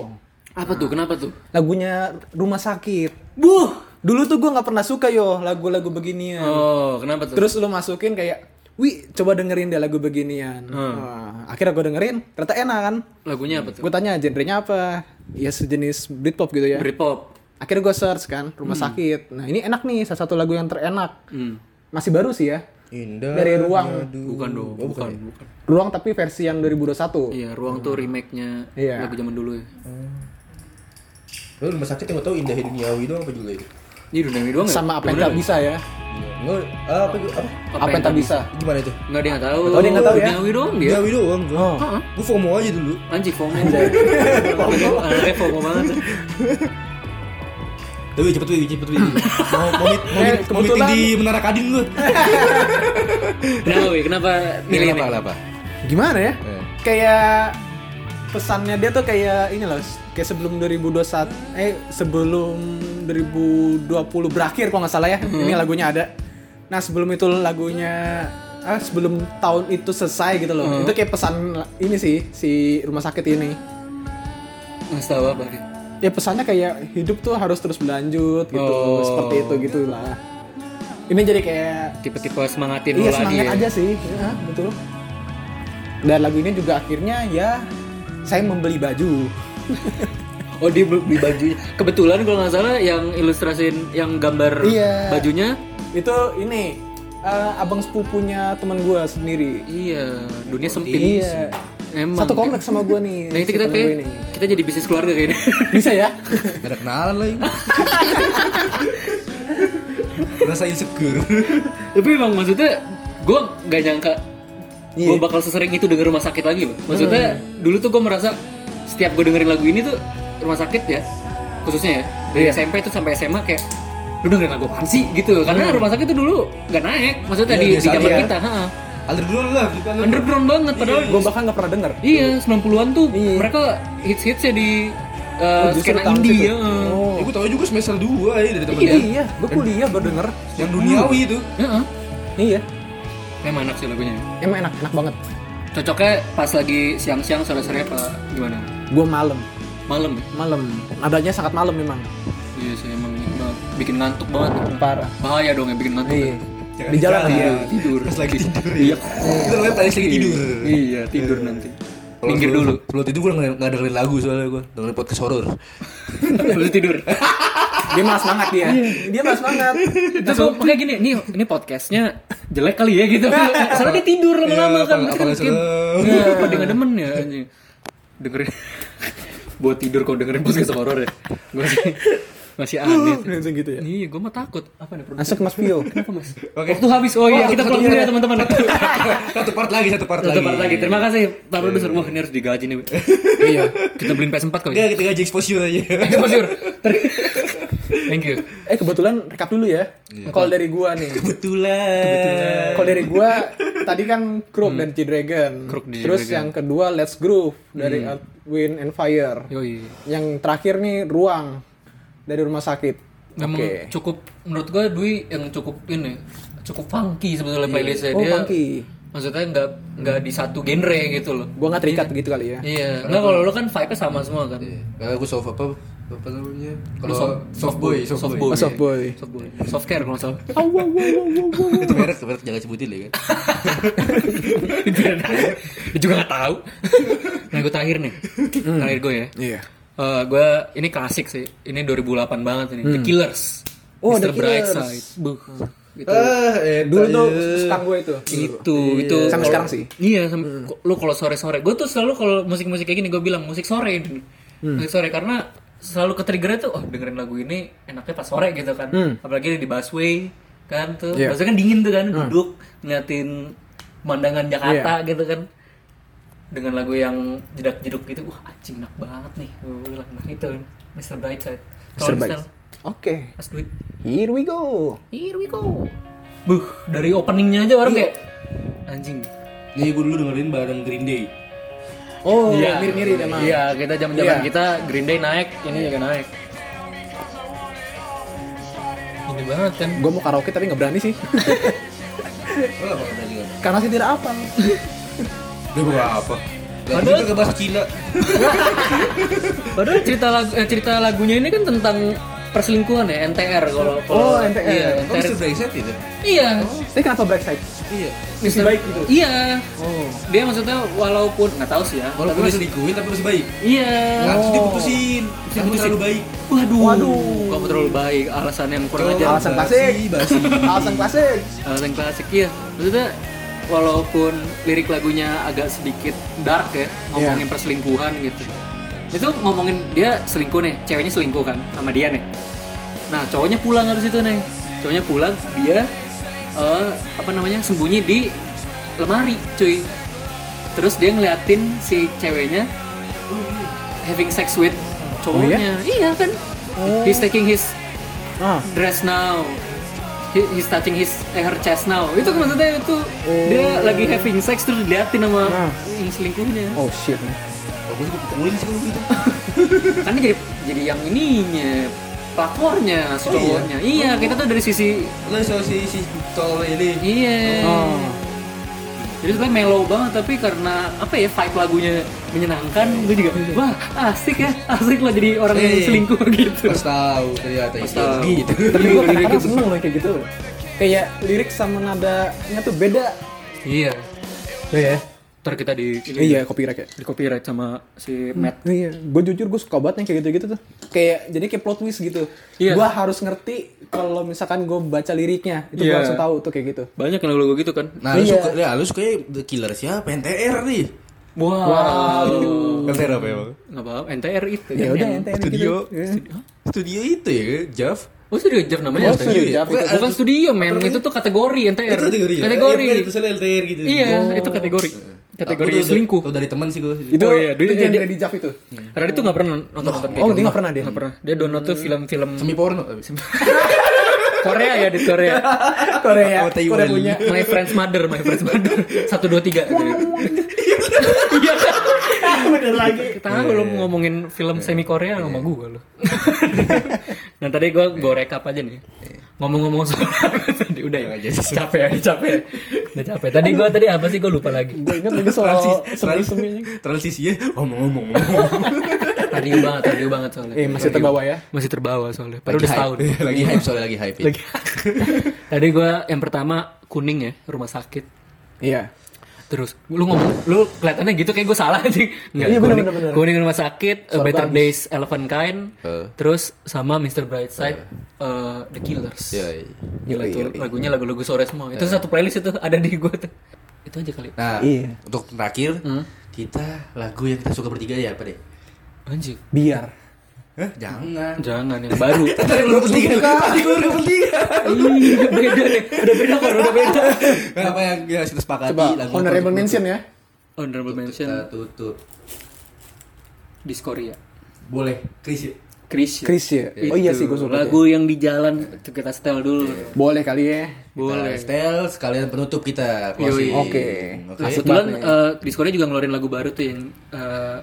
[SPEAKER 2] Apa tuh? Kenapa tuh?
[SPEAKER 1] Lagunya Rumah Sakit.
[SPEAKER 2] Buh.
[SPEAKER 1] Dulu tuh gue nggak pernah suka yo lagu-lagu beginian.
[SPEAKER 2] Oh, kenapa tuh?
[SPEAKER 1] Terus lu masukin kayak, wih coba dengerin deh lagu beginian. Wah, akhirnya gue dengerin, ternyata enak kan.
[SPEAKER 2] Lagunya apa tuh?
[SPEAKER 1] Gue tanya genrenya apa? Ya sejenis Britpop gitu ya.
[SPEAKER 2] Britpop.
[SPEAKER 1] Akhirnya gue search kan, Rumah Sakit. Nah ini enak nih, salah satu lagu yang terenak.
[SPEAKER 2] Hmm.
[SPEAKER 1] Masih baru sih ya.
[SPEAKER 3] Indah.
[SPEAKER 1] Dari Ruang.
[SPEAKER 2] Bukan dong.
[SPEAKER 1] Oh,
[SPEAKER 2] bukan, bukan.
[SPEAKER 1] Ruang tapi versi yang 2021.
[SPEAKER 2] Iya, Ruang tuh remake-nya
[SPEAKER 1] Iya.
[SPEAKER 2] lagu zaman dulu ya.
[SPEAKER 3] Lu rumah sakit yang gak tau indah duniawi doang apa juga itu?
[SPEAKER 2] Ini dunia ini doang ya?
[SPEAKER 1] Sama apa yang tak bisa ya.
[SPEAKER 3] Enggak, apa itu? Apa?
[SPEAKER 1] Apa yang tak bisa.
[SPEAKER 3] Gimana itu?
[SPEAKER 2] Enggak dia enggak tahu.
[SPEAKER 1] Oh, dia nggak tahu ya?
[SPEAKER 2] Duniawi doang dia.
[SPEAKER 3] Duniawi doang gua.
[SPEAKER 1] Oh.
[SPEAKER 3] Gua FOMO aja dulu.
[SPEAKER 2] Anjing
[SPEAKER 1] [LAUGHS]
[SPEAKER 2] FOMO. Anaknya FOMO banget.
[SPEAKER 3] Tapi cepet wih, cepet wih. Mau mau meet- mau meet- mau meeting di Menara Kadin lu. Iya,
[SPEAKER 2] Kenapa, Wi? Kenapa milih ini?
[SPEAKER 4] Kenapa, kenapa?
[SPEAKER 1] Gimana ya?
[SPEAKER 4] Eh.
[SPEAKER 1] Kayak pesannya dia tuh kayak ini loh, kayak sebelum 2021 eh sebelum 2020 berakhir kalau nggak salah ya. Ini lagunya ada. Nah, sebelum itu lagunya ah, sebelum tahun itu selesai gitu loh. Itu kayak pesan ini sih si rumah sakit ini.
[SPEAKER 2] Enggak tahu apa dia.
[SPEAKER 1] Ya pesannya kayak hidup tuh harus terus berlanjut gitu.
[SPEAKER 2] Oh.
[SPEAKER 1] Seperti itu gitulah. Ini jadi kayak
[SPEAKER 2] Tipe-tipe semangatin
[SPEAKER 1] Iya
[SPEAKER 2] lu lagi.
[SPEAKER 1] semangat
[SPEAKER 2] ya.
[SPEAKER 1] aja sih, ya, betul. Dan lagu ini juga akhirnya ya saya membeli baju. [LAUGHS]
[SPEAKER 2] Oh dia beli beli bajunya. Kebetulan kalau nggak salah yang ilustrasin yang gambar
[SPEAKER 1] Iya.
[SPEAKER 2] bajunya,
[SPEAKER 1] Itu ini eh, abang sepupunya teman gua sendiri.
[SPEAKER 2] iya dunia sempit.
[SPEAKER 1] Iya.
[SPEAKER 2] Emang.
[SPEAKER 1] Satu kompleks sama gua nih.
[SPEAKER 2] Nah itu
[SPEAKER 1] si
[SPEAKER 2] kita
[SPEAKER 1] temen
[SPEAKER 2] kayak
[SPEAKER 1] gua ini.
[SPEAKER 2] kita jadi bisnis keluarga kayaknya. [LAUGHS]
[SPEAKER 1] bisa ya? [LAUGHS]
[SPEAKER 3] Gak ada kenalan [LAUGHS] lagi. Rasa insecure.
[SPEAKER 2] Tapi emang maksudnya gue nggak nyangka
[SPEAKER 1] Iya.
[SPEAKER 2] gue bakal sesering itu denger rumah sakit lagi loh.
[SPEAKER 1] Hmm.
[SPEAKER 2] Maksudnya dulu tuh gue merasa setiap gue dengerin lagu ini tuh rumah sakit ya khususnya ya dari
[SPEAKER 1] Iya.
[SPEAKER 2] SMP itu sampai SMA kayak lu dengerin lagu apaan sih gitu karena
[SPEAKER 1] Hmm.
[SPEAKER 2] rumah sakit tuh dulu nggak naik maksudnya
[SPEAKER 3] Iya,
[SPEAKER 2] di, di
[SPEAKER 3] biasa
[SPEAKER 2] zaman
[SPEAKER 3] aja.
[SPEAKER 2] kita ha
[SPEAKER 3] Alder dulu lah, bukan lu.
[SPEAKER 2] underground banget padahal
[SPEAKER 1] Hmm. Iya, Gua bahkan nggak pernah denger.
[SPEAKER 2] Iya, 90-an tuh
[SPEAKER 1] Iya.
[SPEAKER 2] mereka hits-hitsnya di uh,
[SPEAKER 1] Oh, justru
[SPEAKER 2] skena
[SPEAKER 1] tahun
[SPEAKER 2] indie
[SPEAKER 1] situ.
[SPEAKER 2] ya.
[SPEAKER 1] Oh.
[SPEAKER 3] Ya, gua tau juga semester 2 ya dari temen
[SPEAKER 1] Iya,
[SPEAKER 3] dia.
[SPEAKER 1] iya, gua kuliah baru denger.
[SPEAKER 3] Yang duniawi itu.
[SPEAKER 2] Heeh.
[SPEAKER 1] Iya.
[SPEAKER 2] Emang enak sih lagunya.
[SPEAKER 1] Emang enak, enak banget.
[SPEAKER 2] Cocoknya pas lagi siang-siang sore-sore apa gimana?
[SPEAKER 1] Gua malam,
[SPEAKER 2] Malam ya?
[SPEAKER 1] malam. Adanya sangat malam memang.
[SPEAKER 2] Iya sih emang banget. bikin ngantuk banget.
[SPEAKER 1] Parah.
[SPEAKER 2] Bahaya dong yang bikin ngantuk. Ya,
[SPEAKER 1] Iya.
[SPEAKER 3] Jangan
[SPEAKER 1] Di jalan
[SPEAKER 3] di
[SPEAKER 1] iya.
[SPEAKER 3] jalan.
[SPEAKER 2] Tidur.
[SPEAKER 3] Pas lagi tidur
[SPEAKER 2] Iya.
[SPEAKER 3] Kita lihat tadi lagi tidur.
[SPEAKER 2] Iya, tidur nanti.
[SPEAKER 3] Kalau
[SPEAKER 2] Minggir
[SPEAKER 3] sebelum- [LAUGHS]
[SPEAKER 2] dulu.
[SPEAKER 3] Sebelum tidur gue nggak dengerin lagu soalnya gue dengerin podcast horor.
[SPEAKER 2] Lu tidur.
[SPEAKER 1] Dia malas banget dia. Dia malas banget.
[SPEAKER 2] Itu tuh makanya gini, nih ini podcastnya jelek kali ya gitu. Soalnya dia tidur lama-lama
[SPEAKER 3] Iya,
[SPEAKER 2] kan.
[SPEAKER 3] apalagi-
[SPEAKER 2] Kan
[SPEAKER 3] apalagi serem.
[SPEAKER 2] Iya, pada nggak demen ya anjing. Dengerin [LAUGHS] buat tidur kalau dengerin podcast horor ya. Gue masih masih aneh. tuh.
[SPEAKER 1] Langsung gitu ya.
[SPEAKER 2] Iya, gue mah takut. Apa nih?
[SPEAKER 1] Masuk Mas Pio.
[SPEAKER 2] Kenapa mas? Waktu habis. Oh iya, kita pulang dulu ya teman-teman.
[SPEAKER 3] Satu part lagi, satu part lagi.
[SPEAKER 2] Satu part lagi. Terima kasih Pak Produser. Wah, ini harus digaji nih. iya, kita beliin PS4 kali.
[SPEAKER 3] Nggak, kita gaji exposure aja.
[SPEAKER 2] Thank you, Mas Yur. Ter- Thank you.
[SPEAKER 1] Eh kebetulan rekap dulu ya.
[SPEAKER 2] Iya.
[SPEAKER 1] Kalau dari gua nih.
[SPEAKER 3] Kebetulan.
[SPEAKER 1] Kalau dari gua tadi kan Group dan G-Dragon.
[SPEAKER 2] Crook Hmm. di
[SPEAKER 1] Terus
[SPEAKER 2] G-Dragon. Hmm.
[SPEAKER 1] yang kedua Let's Groove dari Earth, Wind and Fire.
[SPEAKER 2] Yoi.
[SPEAKER 1] Yang terakhir nih Ruang dari Rumah Sakit.
[SPEAKER 2] Memang
[SPEAKER 1] Oke.
[SPEAKER 2] cukup menurut gue Dwi yang cukup ini cukup funky sebetulnya playlistnya
[SPEAKER 1] Oh,
[SPEAKER 2] dia.
[SPEAKER 1] funky.
[SPEAKER 2] Maksudnya nggak nggak di satu genre gitu loh.
[SPEAKER 1] Gua nggak terikat begitu kali ya.
[SPEAKER 2] Iya. Nggak kalau lo kan vibe-nya sama semua kan.
[SPEAKER 3] Kalau gue Nah, soft apa? Apa namanya? Kalau
[SPEAKER 2] Lu
[SPEAKER 3] soft, boy, soft, boy.
[SPEAKER 1] Oh, soft boy.
[SPEAKER 2] Soft boy. Soft care kalau nggak salah.
[SPEAKER 1] Au, au, au, au, au, au.
[SPEAKER 3] [LAUGHS] Itu merek, merek jangan sebutin ya kan.
[SPEAKER 2] Dia juga nggak tahu. Nah gue terakhir nih. Terakhir gue ya.
[SPEAKER 1] Iya.
[SPEAKER 2] Eh, gue ini klasik sih. Ini 2008 banget ini. The Killers.
[SPEAKER 1] Hmm. Oh,
[SPEAKER 2] Mr.
[SPEAKER 1] The Killers.
[SPEAKER 2] Brightside. Buh. Gitu.
[SPEAKER 3] Ah, eh,
[SPEAKER 1] Dulu tuh suka gue itu.
[SPEAKER 2] itu itu
[SPEAKER 1] Sampai
[SPEAKER 2] Gitu, kalau-
[SPEAKER 1] sekarang sih. Hmm.
[SPEAKER 2] iya sam- ko- lu kalau sore sore gue tuh selalu kalau musik musik kayak gini gue bilang musik sore ini
[SPEAKER 1] Hmm.
[SPEAKER 2] musik sore karena selalu ke trigger tuh oh dengerin lagu ini enaknya pas sore gitu kan apalagi di busway kan tuh
[SPEAKER 1] Hmm. Iya.
[SPEAKER 2] busway kan dingin tuh kan duduk ngeliatin pemandangan Jakarta
[SPEAKER 1] Iya.
[SPEAKER 2] gitu kan dengan lagu yang jedak jeduk gitu wah anjing enak banget nih gue bilang nah itu kan Mr. Brightside
[SPEAKER 1] Mr.
[SPEAKER 2] kalau
[SPEAKER 1] Bites.
[SPEAKER 2] misal
[SPEAKER 1] Oke.
[SPEAKER 2] pas duit
[SPEAKER 1] Here we go.
[SPEAKER 2] here we go buh dari openingnya aja
[SPEAKER 1] Iya.
[SPEAKER 2] orang kayak anjing
[SPEAKER 3] Nih gue dulu dengerin bareng Green Day.
[SPEAKER 1] Oh,
[SPEAKER 2] Iya,
[SPEAKER 1] mirip-mirip emang.
[SPEAKER 2] Iya, kita zaman-zaman
[SPEAKER 1] Iya.
[SPEAKER 2] kita Green Day naik, ini juga naik. Ini banget kan.
[SPEAKER 1] Gue mau karaoke tapi nggak berani [LAUGHS] sih.
[SPEAKER 3] Oh, apa kata juga?
[SPEAKER 1] Karena sih tidak apa.
[SPEAKER 3] Dia buka apa? Gak juga ke bahasa Cina
[SPEAKER 2] Padahal cerita lagu, eh, cerita lagunya ini kan tentang perselingkuhan ya NTR kalau
[SPEAKER 1] Oh,
[SPEAKER 2] kalau-
[SPEAKER 1] NTR.
[SPEAKER 2] iya
[SPEAKER 3] Oh
[SPEAKER 2] NTR
[SPEAKER 3] Mr. Brexit itu?
[SPEAKER 2] iya
[SPEAKER 1] Tapi kenapa backside?
[SPEAKER 3] Iya
[SPEAKER 1] Sisi
[SPEAKER 2] Mister-
[SPEAKER 1] Oh, baik gitu.
[SPEAKER 2] iya
[SPEAKER 1] Oh.
[SPEAKER 2] dia maksudnya walaupun nggak tahu sih ya
[SPEAKER 3] Walaupun
[SPEAKER 2] tapi
[SPEAKER 3] dia
[SPEAKER 2] maksud-
[SPEAKER 3] selingkuhin tapi masih baik
[SPEAKER 2] iya
[SPEAKER 3] Nggak, terus diputusin Kamu
[SPEAKER 2] diputusin.
[SPEAKER 3] terlalu baik
[SPEAKER 2] waduh
[SPEAKER 1] Waduh.
[SPEAKER 2] kamu terlalu baik Oh, alasan yang kurang
[SPEAKER 3] Cowok
[SPEAKER 2] ajar
[SPEAKER 1] alasan klasik.
[SPEAKER 3] basi, basi.
[SPEAKER 1] Alasan klasik.
[SPEAKER 2] alasan klasik iya maksudnya walaupun lirik lagunya agak sedikit dark ya ngomongin perselingkuhan gitu itu ngomongin dia selingkuh nih ceweknya selingkuh kan sama dia nih nah cowoknya pulang habis itu nih cowoknya pulang dia eh, apa namanya sembunyi di lemari cuy terus dia ngeliatin si ceweknya having sex with cowoknya iya kan
[SPEAKER 1] Oh.
[SPEAKER 2] he's taking his
[SPEAKER 1] Ah.
[SPEAKER 2] dress now He- he's touching his eh, her chest now itu kan maksudnya itu dia lagi having sex terus diliatin sama
[SPEAKER 1] Nah.
[SPEAKER 2] yang selingkuhnya
[SPEAKER 1] Oh shit.
[SPEAKER 3] Oh, gue juga pukulin sih kalau gitu
[SPEAKER 2] kan dia jadi jadi yang ininya pelakornya si
[SPEAKER 3] Oh, iya?
[SPEAKER 2] cowoknya iya kita tuh dari sisi
[SPEAKER 3] Lo soal si, si cowok ini
[SPEAKER 2] iya
[SPEAKER 1] Oh.
[SPEAKER 2] jadi sebenarnya mellow banget tapi karena apa ya vibe lagunya menyenangkan gue juga wah asik ya asik lah jadi orang yang
[SPEAKER 3] Hey.
[SPEAKER 2] selingkuh [LAUGHS] gitu
[SPEAKER 3] Eh. Pas tahu ternyata
[SPEAKER 2] Pas
[SPEAKER 3] itu
[SPEAKER 2] tahu.
[SPEAKER 3] gitu
[SPEAKER 1] Tapi gue kadang-kadang seneng loh kayak gitu. Kayak lirik sama nadanya tuh beda.
[SPEAKER 2] iya
[SPEAKER 1] Iya.
[SPEAKER 2] ntar kita di
[SPEAKER 1] Iya, copyright ya.
[SPEAKER 2] di copyright sama si Matt
[SPEAKER 1] Iya, gue jujur gue suka banget yang kayak gitu-gitu tuh. Kayak jadi kayak plot twist gitu.
[SPEAKER 2] Iya.
[SPEAKER 1] Gue harus ngerti kalau misalkan gue baca liriknya, itu gue
[SPEAKER 2] Iya.
[SPEAKER 1] langsung tahu tuh kayak gitu.
[SPEAKER 2] banyak yang lagu-lagu gitu kan
[SPEAKER 3] Nah, lu
[SPEAKER 1] Iya.
[SPEAKER 3] suka, ya, lu sukanya The Killer siapa? NTR nih
[SPEAKER 2] Wow.
[SPEAKER 3] NTR apa emang?
[SPEAKER 2] Nggak apa-apa, NTR itu.
[SPEAKER 1] Ya udah ente ente
[SPEAKER 3] Studio
[SPEAKER 1] gitu. Iya.
[SPEAKER 3] Studio itu ya, Jav
[SPEAKER 2] Oh studio Jav namanya
[SPEAKER 1] Oh, Studio Jav.
[SPEAKER 2] Bukan, bukan studio men, itu tuh kategori NTR.
[SPEAKER 3] Itu kategori ya?
[SPEAKER 2] Kategori.
[SPEAKER 3] Iya, bener, tulisannya LTR gitu
[SPEAKER 2] Iya, itu kategori. Kategori
[SPEAKER 3] Aku tuh-
[SPEAKER 2] selingkuh.
[SPEAKER 3] Tuh dari teman sih gue
[SPEAKER 1] Itu
[SPEAKER 2] Oh, iya,
[SPEAKER 1] itu
[SPEAKER 2] dia- Iya.
[SPEAKER 1] genre
[SPEAKER 2] dia-
[SPEAKER 1] di Jav itu.
[SPEAKER 2] Radit tuh nggak pernah nonton nonton kayak
[SPEAKER 1] Oh,
[SPEAKER 2] gitu.
[SPEAKER 1] dia nggak pernah dia.
[SPEAKER 2] Nggak pernah. Dia download tuh film-film
[SPEAKER 3] Semi [LAUGHS] porno abis.
[SPEAKER 2] Korea ya di Korea.
[SPEAKER 1] [LAUGHS] Korea,
[SPEAKER 3] Oh, Taiwan.
[SPEAKER 1] Korea
[SPEAKER 2] [LAUGHS]
[SPEAKER 1] punya.
[SPEAKER 2] My friend's mother, my friend's mother. [LAUGHS] Satu dua tiga. Iya kan?
[SPEAKER 1] Bener lagi.
[SPEAKER 2] Tahu lo ngomongin film semi Korea sama gue lo. [LAUGHS] nah tadi gue gue rekap aja nih. Ngomong-ngomong soal [LAUGHS] tadi udah ya
[SPEAKER 3] Nggak jadi.
[SPEAKER 2] [LAUGHS] capek ya
[SPEAKER 3] [LAUGHS]
[SPEAKER 2] capek. Udah capek. Tadi gue tadi apa sih gue lupa lagi.
[SPEAKER 1] Gue inget lagi soal
[SPEAKER 2] Oh,
[SPEAKER 1] semi-seminya.
[SPEAKER 3] Transisi ya
[SPEAKER 2] [LAUGHS]
[SPEAKER 3] Ngomong-ngomong ngomong.
[SPEAKER 2] Tadi banget, tadi banget soalnya.
[SPEAKER 1] Eh, masih terbawa ya.
[SPEAKER 2] Masih terbawa soalnya. Padahal
[SPEAKER 3] Lagi
[SPEAKER 2] udah
[SPEAKER 3] hype
[SPEAKER 2] setahun.
[SPEAKER 3] [LAUGHS] Lagi hype soalnya lagi hype ya.
[SPEAKER 2] Lagi. tadi gue yang pertama kuning ya rumah sakit.
[SPEAKER 1] Iya.
[SPEAKER 2] Terus lu ngomong, lu kelihatannya gitu kayak gue salah anjing. Enggak.
[SPEAKER 1] Iya, bener,
[SPEAKER 2] kuning,
[SPEAKER 1] bener, bener.
[SPEAKER 2] kuning rumah sakit, uh,
[SPEAKER 1] Soal
[SPEAKER 2] Better
[SPEAKER 1] bagus.
[SPEAKER 2] Days, Elephant Kind,
[SPEAKER 3] Eh.
[SPEAKER 2] terus sama Mr. Brightside, uh, The Killers.
[SPEAKER 3] Iya, iya.
[SPEAKER 2] Gila itu lagunya lagu-lagu sore semua. Itu satu playlist itu ada di gue tuh. Itu aja kali.
[SPEAKER 3] Nah
[SPEAKER 1] Iya.
[SPEAKER 3] Untuk terakhir
[SPEAKER 2] Hmm?
[SPEAKER 3] Kita Lagu yang kita suka bertiga ya apa deh?
[SPEAKER 2] Anjing.
[SPEAKER 1] Biar.
[SPEAKER 3] Hah? Jangan
[SPEAKER 2] Jangan yang [LAUGHS] baru. Iya,
[SPEAKER 3] Tadi lu bertiga [LAUGHS] Tadi lu bertiga
[SPEAKER 2] Ih, beda nih. Udah beda kan, udah beda.
[SPEAKER 3] Apa yang ya, kita sepakati
[SPEAKER 1] Coba
[SPEAKER 3] lagu
[SPEAKER 1] honorable
[SPEAKER 3] apa?
[SPEAKER 1] mention ya.
[SPEAKER 2] Honorable mention
[SPEAKER 3] Kita tutup
[SPEAKER 2] di Korea.
[SPEAKER 3] Boleh Chris ya?
[SPEAKER 2] Chris. ya.
[SPEAKER 1] Chris ya. Oh iya sih gue suka. tuh.
[SPEAKER 2] Lagu yang di jalan itu kita setel dulu.
[SPEAKER 1] Boleh kali ya.
[SPEAKER 2] Boleh.
[SPEAKER 3] Kita Stel sekalian penutup kita closing.
[SPEAKER 1] Yoi. Oke.
[SPEAKER 3] Oke.
[SPEAKER 2] Nah, kebetulan eh, di Korea juga ngeluarin lagu baru tuh yang eh,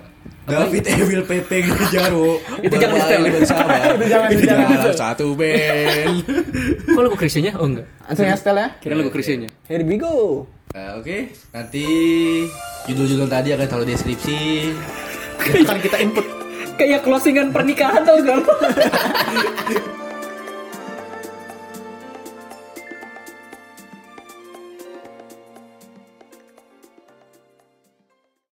[SPEAKER 3] David Evil Pepe
[SPEAKER 1] [LAUGHS]
[SPEAKER 3] Jaro
[SPEAKER 2] Itu jangan di setel.
[SPEAKER 1] Itu jangan, itu jangan.
[SPEAKER 3] Satu band [LAUGHS]
[SPEAKER 2] Kok lagu Christiannya? Oh enggak.
[SPEAKER 1] Langsung ya setel ya.
[SPEAKER 2] Kira lagu Christiannya.
[SPEAKER 1] Here we go.
[SPEAKER 3] Nah, Oke Nanti Judul-judul tadi akan taruh di deskripsi
[SPEAKER 1] Akan kita input.
[SPEAKER 2] Kayak closingan pernikahan tau gak?